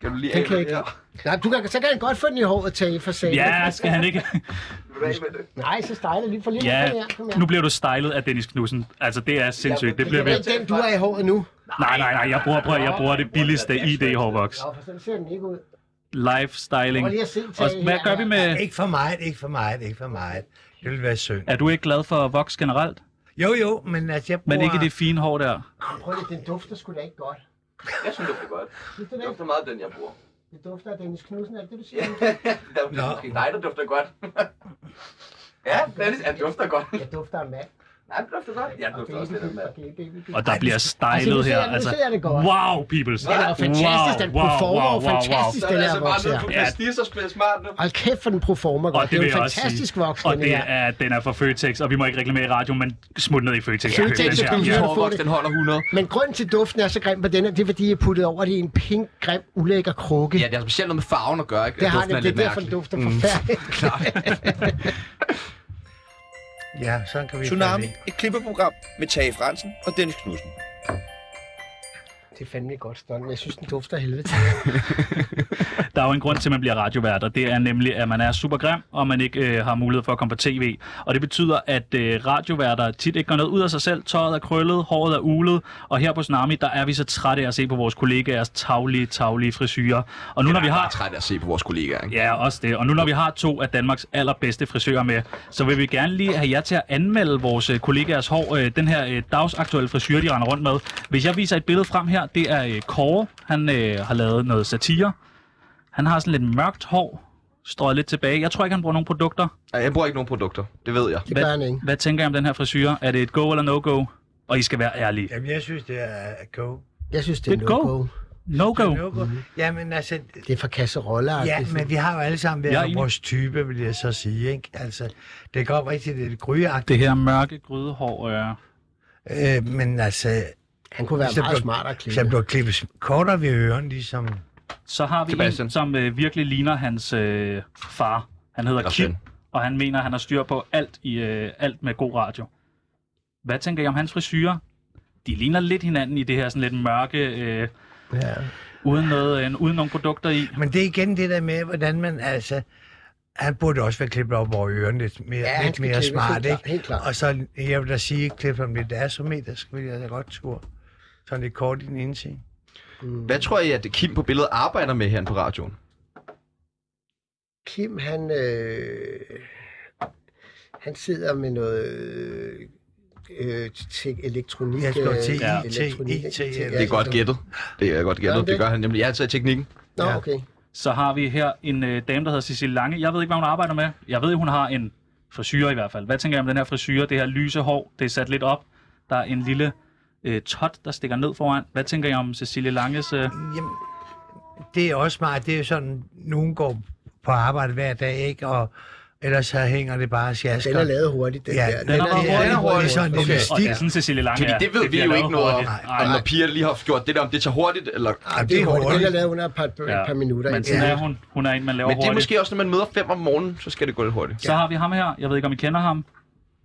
B: kan du lige
C: Den
B: af med
C: kan jeg ikke.
B: det her?
C: Nej, du kan, så kan han godt få den i håret, Tage, for sagen.
A: Ja, skal han ikke?
B: Vil du af med det?
C: Nej, så stejler lige for lige.
A: Ja,
C: Kom her, kom her.
A: nu bliver du stylet af Dennis Knudsen. Altså, det er sindssygt. Det bliver
C: Det er
A: ved.
C: ikke den, du har i håret nu.
A: Nej, nej, nej. Jeg bruger, prøv, at- jeg bruger det billigste ID hårvoks.
C: Nå, for sådan ser den ikke ud.
A: Live styling.
C: Prøv lige at se, Tage,
A: Og hvad
C: her,
A: gør
C: her.
A: vi med...
D: Ikke for meget, ikke for meget, ikke for meget. Det ville være synd.
A: Er du ikke glad for voks generelt?
D: Jo, jo, men altså, jeg bruger...
A: Men ikke det fine hår der.
C: Prøv lige, den dufter sgu da ikke godt.
B: Jeg synes, det er godt.
C: Synes du
B: Det
C: det ikke?
B: dufter meget af den, jeg bruger.
C: Det dufter af Dennis Knudsen, er det det, du siger?
B: Det er måske dig, der dufter godt. ja, Dennis, han dufter godt.
C: Jeg dufter af mand.
B: Nej, han dufter godt. Ja, han
C: Og
B: dufter også
C: baby,
B: lidt af mand.
C: baby, baby, baby.
A: Og der bliver stylet her.
C: ser- nu
A: Altså,
C: ser jeg det godt.
A: wow, peoples.
C: Den er jo fantastisk, den performer wow, wow, fantastisk,
B: Så er
C: den
B: det
C: her
B: altså bare
C: voks
B: nede
C: her.
B: på
A: Ja.
B: prestige og spille smart nu.
C: Hold kæft for den performer
A: Og
C: godt. Det,
A: det
C: er
A: vil
C: jo
A: jeg
C: en
A: også
C: fantastisk
A: sige.
C: voks,
A: Og
C: den
A: det
C: her.
A: er, den er fra Føtex, og vi må ikke reklamere i radioen, men smut ned i Føtex. og køb
C: Føtex,
A: den her.
C: selvfølgelig.
B: Ja,
C: Ja.
B: hårvoks, den holder 100.
C: Men grunden til, at duften er så grim på den her, det er, fordi jeg puttede over det i en pink, grim, ulækker krukke.
B: Ja, det har specielt noget med farven at gøre, ikke?
C: det har
B: Duften
C: det,
B: er
C: det er
B: lidt
C: derfor, den
B: mærkelig. Mm.
C: dufter forfærdeligt.
D: Ja, sådan kan vi...
F: Tsunami,
D: gøre
F: et klippeprogram med Tage Fransen og Dennis Knudsen.
C: Det er fandme et godt stunt, men jeg synes, den dufter af helvede.
A: Der er jo en grund til, at man bliver radiovært, og det er nemlig, at man er super grim, og man ikke øh, har mulighed for at komme på tv. Og det betyder, at øh, radioværter tit ikke gør noget ud af sig selv. Tøjet er krøllet, håret er ulet, og her på Tsunami, der er vi så trætte af at se på vores kollegaers taglige, taglige frisyrer. Og nu når vi
B: Jeg er
A: har...
B: træt af at se på vores kollegaer, ikke?
A: Ja, også det. Og nu når vi har to af Danmarks allerbedste frisører med, så vil vi gerne lige have jer til at anmelde vores øh, kollegaers hår. Øh, den her øh, dagsaktuelle frisyr, de render rundt med. Hvis jeg viser et billede frem her, det er øh, Kåre. Han øh, har lavet noget satire. Han har sådan lidt mørkt hår, strøget lidt tilbage. Jeg tror ikke, han bruger nogen produkter.
B: Ej, Jeg bruger ikke nogen produkter. Det ved jeg.
C: Det
A: Hvad-
C: gør han ikke.
A: Hvad tænker I om den her frisyr? Er det et go eller no-go? Og I skal være ærlige.
D: Jamen, jeg synes, det er go.
C: Jeg synes, det er
A: Det er go.
C: no-go.
A: No-go?
D: go. Jamen, altså,
C: Det er for kasserolleagtigt.
D: Ja, men vi har jo alle sammen
A: Jeg er
D: været
A: enig.
D: vores type, vil jeg så sige. Ikke? Altså, det går rigtig lidt gryagtigt,
A: Det her mørke grydehår. Øh.
D: øh, men altså,
C: Han kunne være
D: Hvis det
C: meget
D: blev-
C: smart at klippe.
D: så bliver klippet kortere ved ørerne, ligesom...
A: Så har vi Sebastian.
B: Sebastian.
A: en, som øh, virkelig ligner hans øh, far. Han hedder
B: Eller
A: Kim,
B: søn.
A: og han mener, at han har styr på alt, i, øh, alt med god radio. Hvad tænker I om hans frisyrer? De ligner lidt hinanden i det her sådan lidt mørke, øh,
C: Ja.
A: uden, noget, øh, uden nogen produkter i.
D: Men det er igen det der med, hvordan man altså... Han burde også være klippet op over ørerne lidt mere,
C: Ja, han
D: lidt
C: skal
D: mere
C: klippes,
D: smart,
C: helt klart,
D: ikke?
C: helt klart.
D: Og så, jeg vil da sige, klippe ham lidt asymmetrisk, vil jeg da godt tur. Sådan lidt kort i den ene ting.
B: Hvad tror I, at Kim på billedet arbejder med her på radioen?
C: Kim, han, øh, han sidder med noget øh, til elektronik.
D: Jeg skal
C: øh,
D: til
A: Ja.
D: IT,
C: elektronik,
D: IT,
C: ja,
B: Det er
C: sådan
B: godt
C: noget.
B: gættet. Det er godt
C: Gør
B: gættet.
C: han
B: Det
C: det?
B: gør han nemlig. Jeg er altid i teknikken.
C: Nå,
D: Ja.
C: okay.
A: Så har vi her en øh, dame, der hedder Cecilie Lange. Jeg ved ikke, hvad hun arbejder med. Jeg ved, hun har en frisyrer i hvert fald. Hvad tænker I om den her frisyrer? Det her lyse hår, det er sat lidt op. Der er en lille øh, tot, der stikker ned foran. Hvad tænker I om Cecilie Langes... Øh...
D: Jamen, det er også smart. Det er jo sådan, nogen går på arbejde hver dag, ikke? Og ellers så hænger det bare og sjasker.
C: Den er lavet hurtigt, den
D: Ja,
C: der.
D: den er
A: bare
D: det er-
A: hurtig.
D: det er
B: hurtig.
D: sådan
B: Okay.
D: en lille
A: Og det
D: stik.
A: er sådan, Cecilie Lange
B: Fordi
A: er.
B: det ved vi
A: bliver
B: jo
A: lavet
B: ikke noget om.
A: hurtigt.
B: Om når piger lige har gjort det der, om det er så hurtigt, eller...
C: Ej, det er hurtigt. Den er lavet under et par,
A: Ja.
C: et par minutter.
A: Men
C: ikke?
A: sådan
C: Ja.
A: er hun. Hun er en, man laver
B: Men det er
A: hurtigt.
B: måske også, når man møder fem om morgenen, så skal det gå lidt hurtigt.
A: Så har vi ham her. Jeg ved ikke, om I kender ham.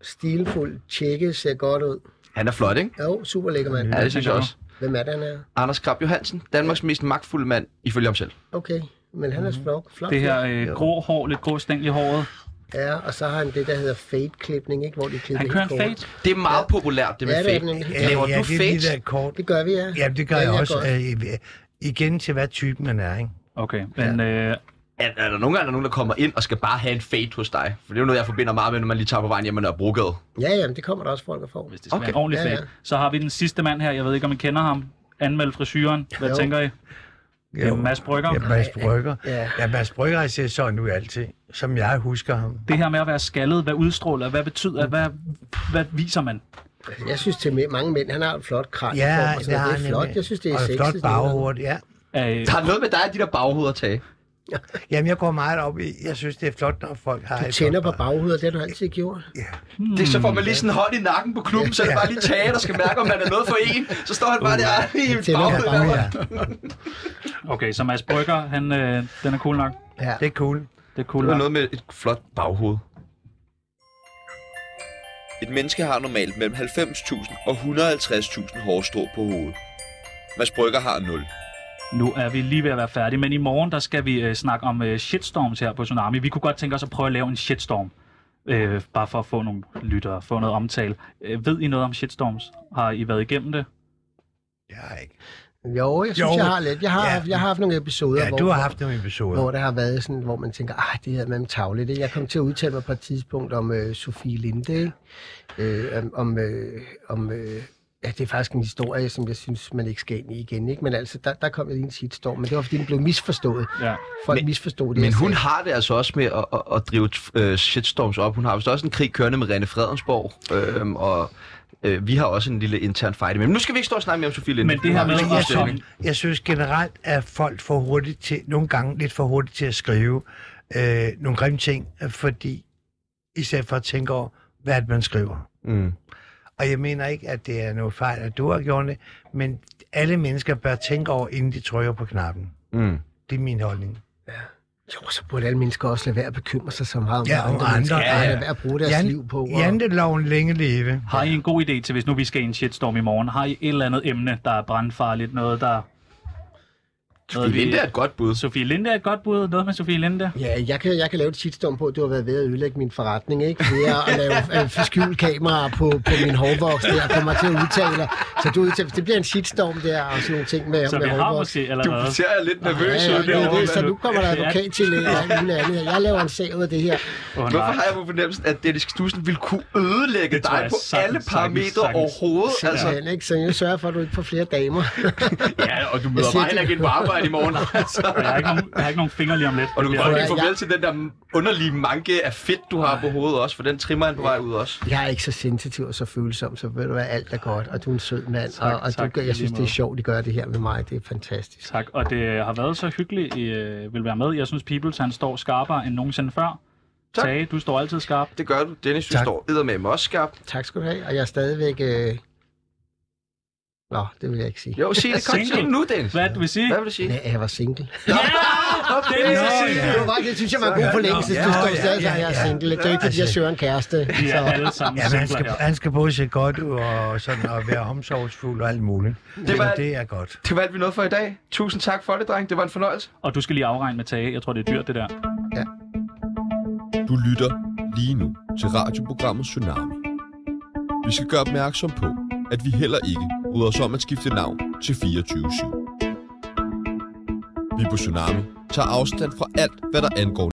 C: Stilfuld, tjekket, ser godt ud.
B: Han er flot, ikke?
C: Jo, super lækker mand.
A: Mhm.
B: Ja, det synes jeg også.
C: Hvem er den her?
B: Anders Krab Johansen, Danmarks mest magtfulde mand, ifølge ham selv.
C: Okay, men han er flot. flot
A: Mhm. Det her øh, grå hår, lidt grå stængel i håret.
C: Ja, og så har han det, der hedder fade-klipning, ikke? Hvor de klipper
A: Han kører en
C: helt kort.
A: fade.
B: Det er meget populært, det med
C: Ja, det er
B: fake.
C: det nemlig.
D: Ja,
B: Laver
D: ja,
B: du
D: det er de
B: fades?
D: der kort.
C: Det gør vi, ja.
D: Jamen, det gør
C: Ja,
D: jeg
C: jeg
D: også.
C: gør
D: Øh, igen til, hvad type man er, ikke?
A: Okay, men øh,
B: Er, er der nogen gange, der er nogen, der kommer ind og skal bare have en fade hos dig? For det er jo noget, jeg forbinder meget med, når man lige tager på vejen hjemme af Brogade.
C: Ja, jamen, det kommer der også folk at få.
A: hvis det skal okay.
B: Okay.
A: være en ordentlig
C: Ja,
A: fade.
C: ja.
A: Så har vi den sidste mand her. Jeg ved ikke, om I kender ham. Anmeld frisyren. Hvad
C: Jo.
A: tænker I? Det er jo Mads Brygger.
D: Ja, Mads Brygger.
C: Ja.
D: Ja, Mads Brygger ser sådan ud altid, som jeg husker ham.
A: Det her med at være skaldet, hvad udstråler, hvad betyder, hvad, hvad viser man?
C: Jeg synes til mæ- mange mænd, han har en flot kran.
D: Ja,
C: og sådan
D: det har
C: noget.
D: han
C: Det er flot.
D: nemlig.
C: Jeg synes, det er
D: og et
C: sexet.
D: flot baghoved, ja.
A: Øh,
B: Der er noget med dig, de der baghoveder tage.
D: Jamen, jeg går meget op i, jeg synes, det er flot, når folk har
C: Du
D: et
C: tænder på
D: flot bag-
C: baghovedet, det har du altid gjort.
B: Det, er så får man lige sådan en hånd i nakken på klubben, så er det bare lige tage, der skal mærke, om man er noget for en. Så står han
A: Uh,
B: bare der i en
C: tænder på
B: baghoved.
D: Ja,
A: okay, så Mads Brygger, han, øh, den er cool nok.
C: Ja.
D: det er cool.
A: Det er cool
B: Det
A: nok.
B: var noget med et flot baghoved.
F: Et menneske har normalt mellem 90.000 og 150.000 hårstrå på hovedet. Mads Brygger har 0.
A: Nu er vi lige ved at være færdige, men i morgen der skal vi øh, snakke om øh, shitstorms her på Tsunami. Vi kunne godt tænke os at prøve at lave en shitstorm. Øh, bare for at få nogle lyttere, få noget omtale. Øh, ved I noget om shitstorms? Har I været igennem det?
D: Jeg har ikke.
C: Jo, jeg synes,
D: Jo.
C: jo. jeg har lidt. Jeg har,
D: Ja.
C: ja. jeg har haft nogle episoder,
D: Ja,
C: hvor,
D: du har haft nogle episoder.
C: hvor der har været sådan, hvor man tænker, ah, det her med tavlet, det. Jeg kom til at udtale mig på et tidspunkt om øh, Sofie Linde, ikke? øh, om, om, øh, om øh, ja, det er faktisk en historie, som jeg synes, man ikke skal ind i igen, ikke? Men altså, der, der kom jeg lige en shitstorm, men det var, fordi den blev misforstået.
A: Ja.
C: Folk
B: Men-
C: misforstod det.
B: Men
C: jeg
B: hun
C: sagde.
B: har det altså også med at, at, at drive øh, shitstorms op. Hun har vist også en krig kørende med René Fredensborg, øh, og øh, vi har også en lille intern fight. Men nu skal vi ikke stå og snakke mere om Sofie Linde.
A: Men det her med
B: Hun har
A: at
B: også en
A: komme,
B: stilling.
D: Jeg synes generelt, at folk for hurtigt til, nogle gange lidt for hurtigt til at skrive øh, nogle grimme ting, øh, fordi i stedet for at tænke over, hvad det er, man skriver.
B: Mm.
D: Og jeg mener ikke, at det er noget fejl, at du har gjort det, men alle mennesker bør tænke over, inden de trykker på knappen.
B: Mm.
D: Det er min holdning.
C: Jo, så burde alle mennesker også lade være at bekymre sig så meget om,
D: Ja,
C: hvad
D: om
C: andre,
D: andre,
C: mennesker
D: ja,
C: ja,
D: ja.
C: ja. lade være at bruge deres
D: Jan-
C: liv på. Og...
D: Janteloven længe leve.
A: Har I en god idé til, hvis nu vi skal i en shitstorm i morgen, har I et eller andet emne, der er brandfarligt, noget der... Noget, vi-
B: Linde er et godt bud.
A: Sofie Linde er et godt bud, noget med Sofie Linde.
C: Ja, jeg kan, jeg kan lave et shitstorm på, at du har været ved at ødelægge min forretning, ikke? Ved at at lave øh, skjult kameraer på, på min hårvoks der, og få mig til at udtale. Så du udtaler, det bliver en shitstorm der, og sådan nogle ting med,
A: Så vi
C: med
A: har
C: hårvoks.
A: måske allerede...
B: Du ser lidt nervøs
C: Ja, ja,
B: ud
C: det er
B: derovre.
C: det, så nu kommer der advokat til og alt muligt andet. Jeg laver en sag ud af det her.
A: Oh,
B: Hvorfor har jeg på fornemmelsen, at Dennis Knudsen ville kunne ødelægge
A: Det tror
B: dig
A: jeg
B: på
A: sagtens,
B: alle
A: sagtens,
B: parametre
A: sagtens.
B: overhovedet? Altså,
C: Altså. Ikke? Så jeg sørger for, at du ikke får flere damer.
B: ja, og du møder
C: Jeg siger
B: bare heller ikke ind på arbejde i morgen. Altså.
A: jeg, har ikke nogen, jeg har ikke nogen fingre lige om lidt.
B: Og du kan
A: Det
B: godt
A: bliver-
B: lige
C: jeg-
B: farvel til den der underlige manke af fedt, du har på hovedet også, for den trimmer han på vej ud også.
C: Jeg er ikke så sensitiv og så følsom, så ved du hvad, alt er godt, og du er en sød mand,
A: Tak,
C: og, og
A: tak,
C: du, gør- jeg
A: i lige
C: synes, det er
A: måde.
C: sjovt, at gøre det her med mig. Det er fantastisk.
A: Tak, og det har været så hyggeligt, I øh, vil være med. Jeg synes, Peoples han står skarpere end nogensinde før.
B: Tak.
A: Tage, du står altid skarp.
B: Det gør du. Dennis, du
D: Tak.
B: står eddermame også skarp.
C: Tak skal du have, og jeg er stadigvæk... Øh... Nå, det vil jeg ikke sige.
B: Jo, sig det. Kom, sig
A: Single.
B: det nu, Dennis.
A: Hvad vil du sige?
B: Hvad vil du sige?
C: Nej, jeg var single.
A: Det er så
C: Ja. Det, var bare, det synes jeg var en god forlængelse.
D: Nå,
C: Du
D: ja,
C: står
D: ja,
C: stadig,
D: ja,
C: at jeg
D: ja. Altså-
C: er single. Det er ikke, fordi jeg søger en kæreste.
A: Vi
C: Så.
A: er alle sammen
D: Ja, men han
A: singler
D: skal,
A: her.
D: han skal både se godt ud og, sådan, og være omsorgsfuld og alt muligt. Det,
B: var-
D: var... det er godt.
B: Det var alt, vi nåede for i dag. Tusind tak for det, dreng. Det var en fornøjelse.
A: Og du skal lige afregne med Tage. Jeg tror, det er dyrt, det der.
F: Du lytter lige nu til radioprogrammet Tsunami. Vi skal gøre opmærksom på, at vi heller ikke bryder os om at skifte navn til 24-7. Vi på Tsunami tager afstand fra alt, hvad der angår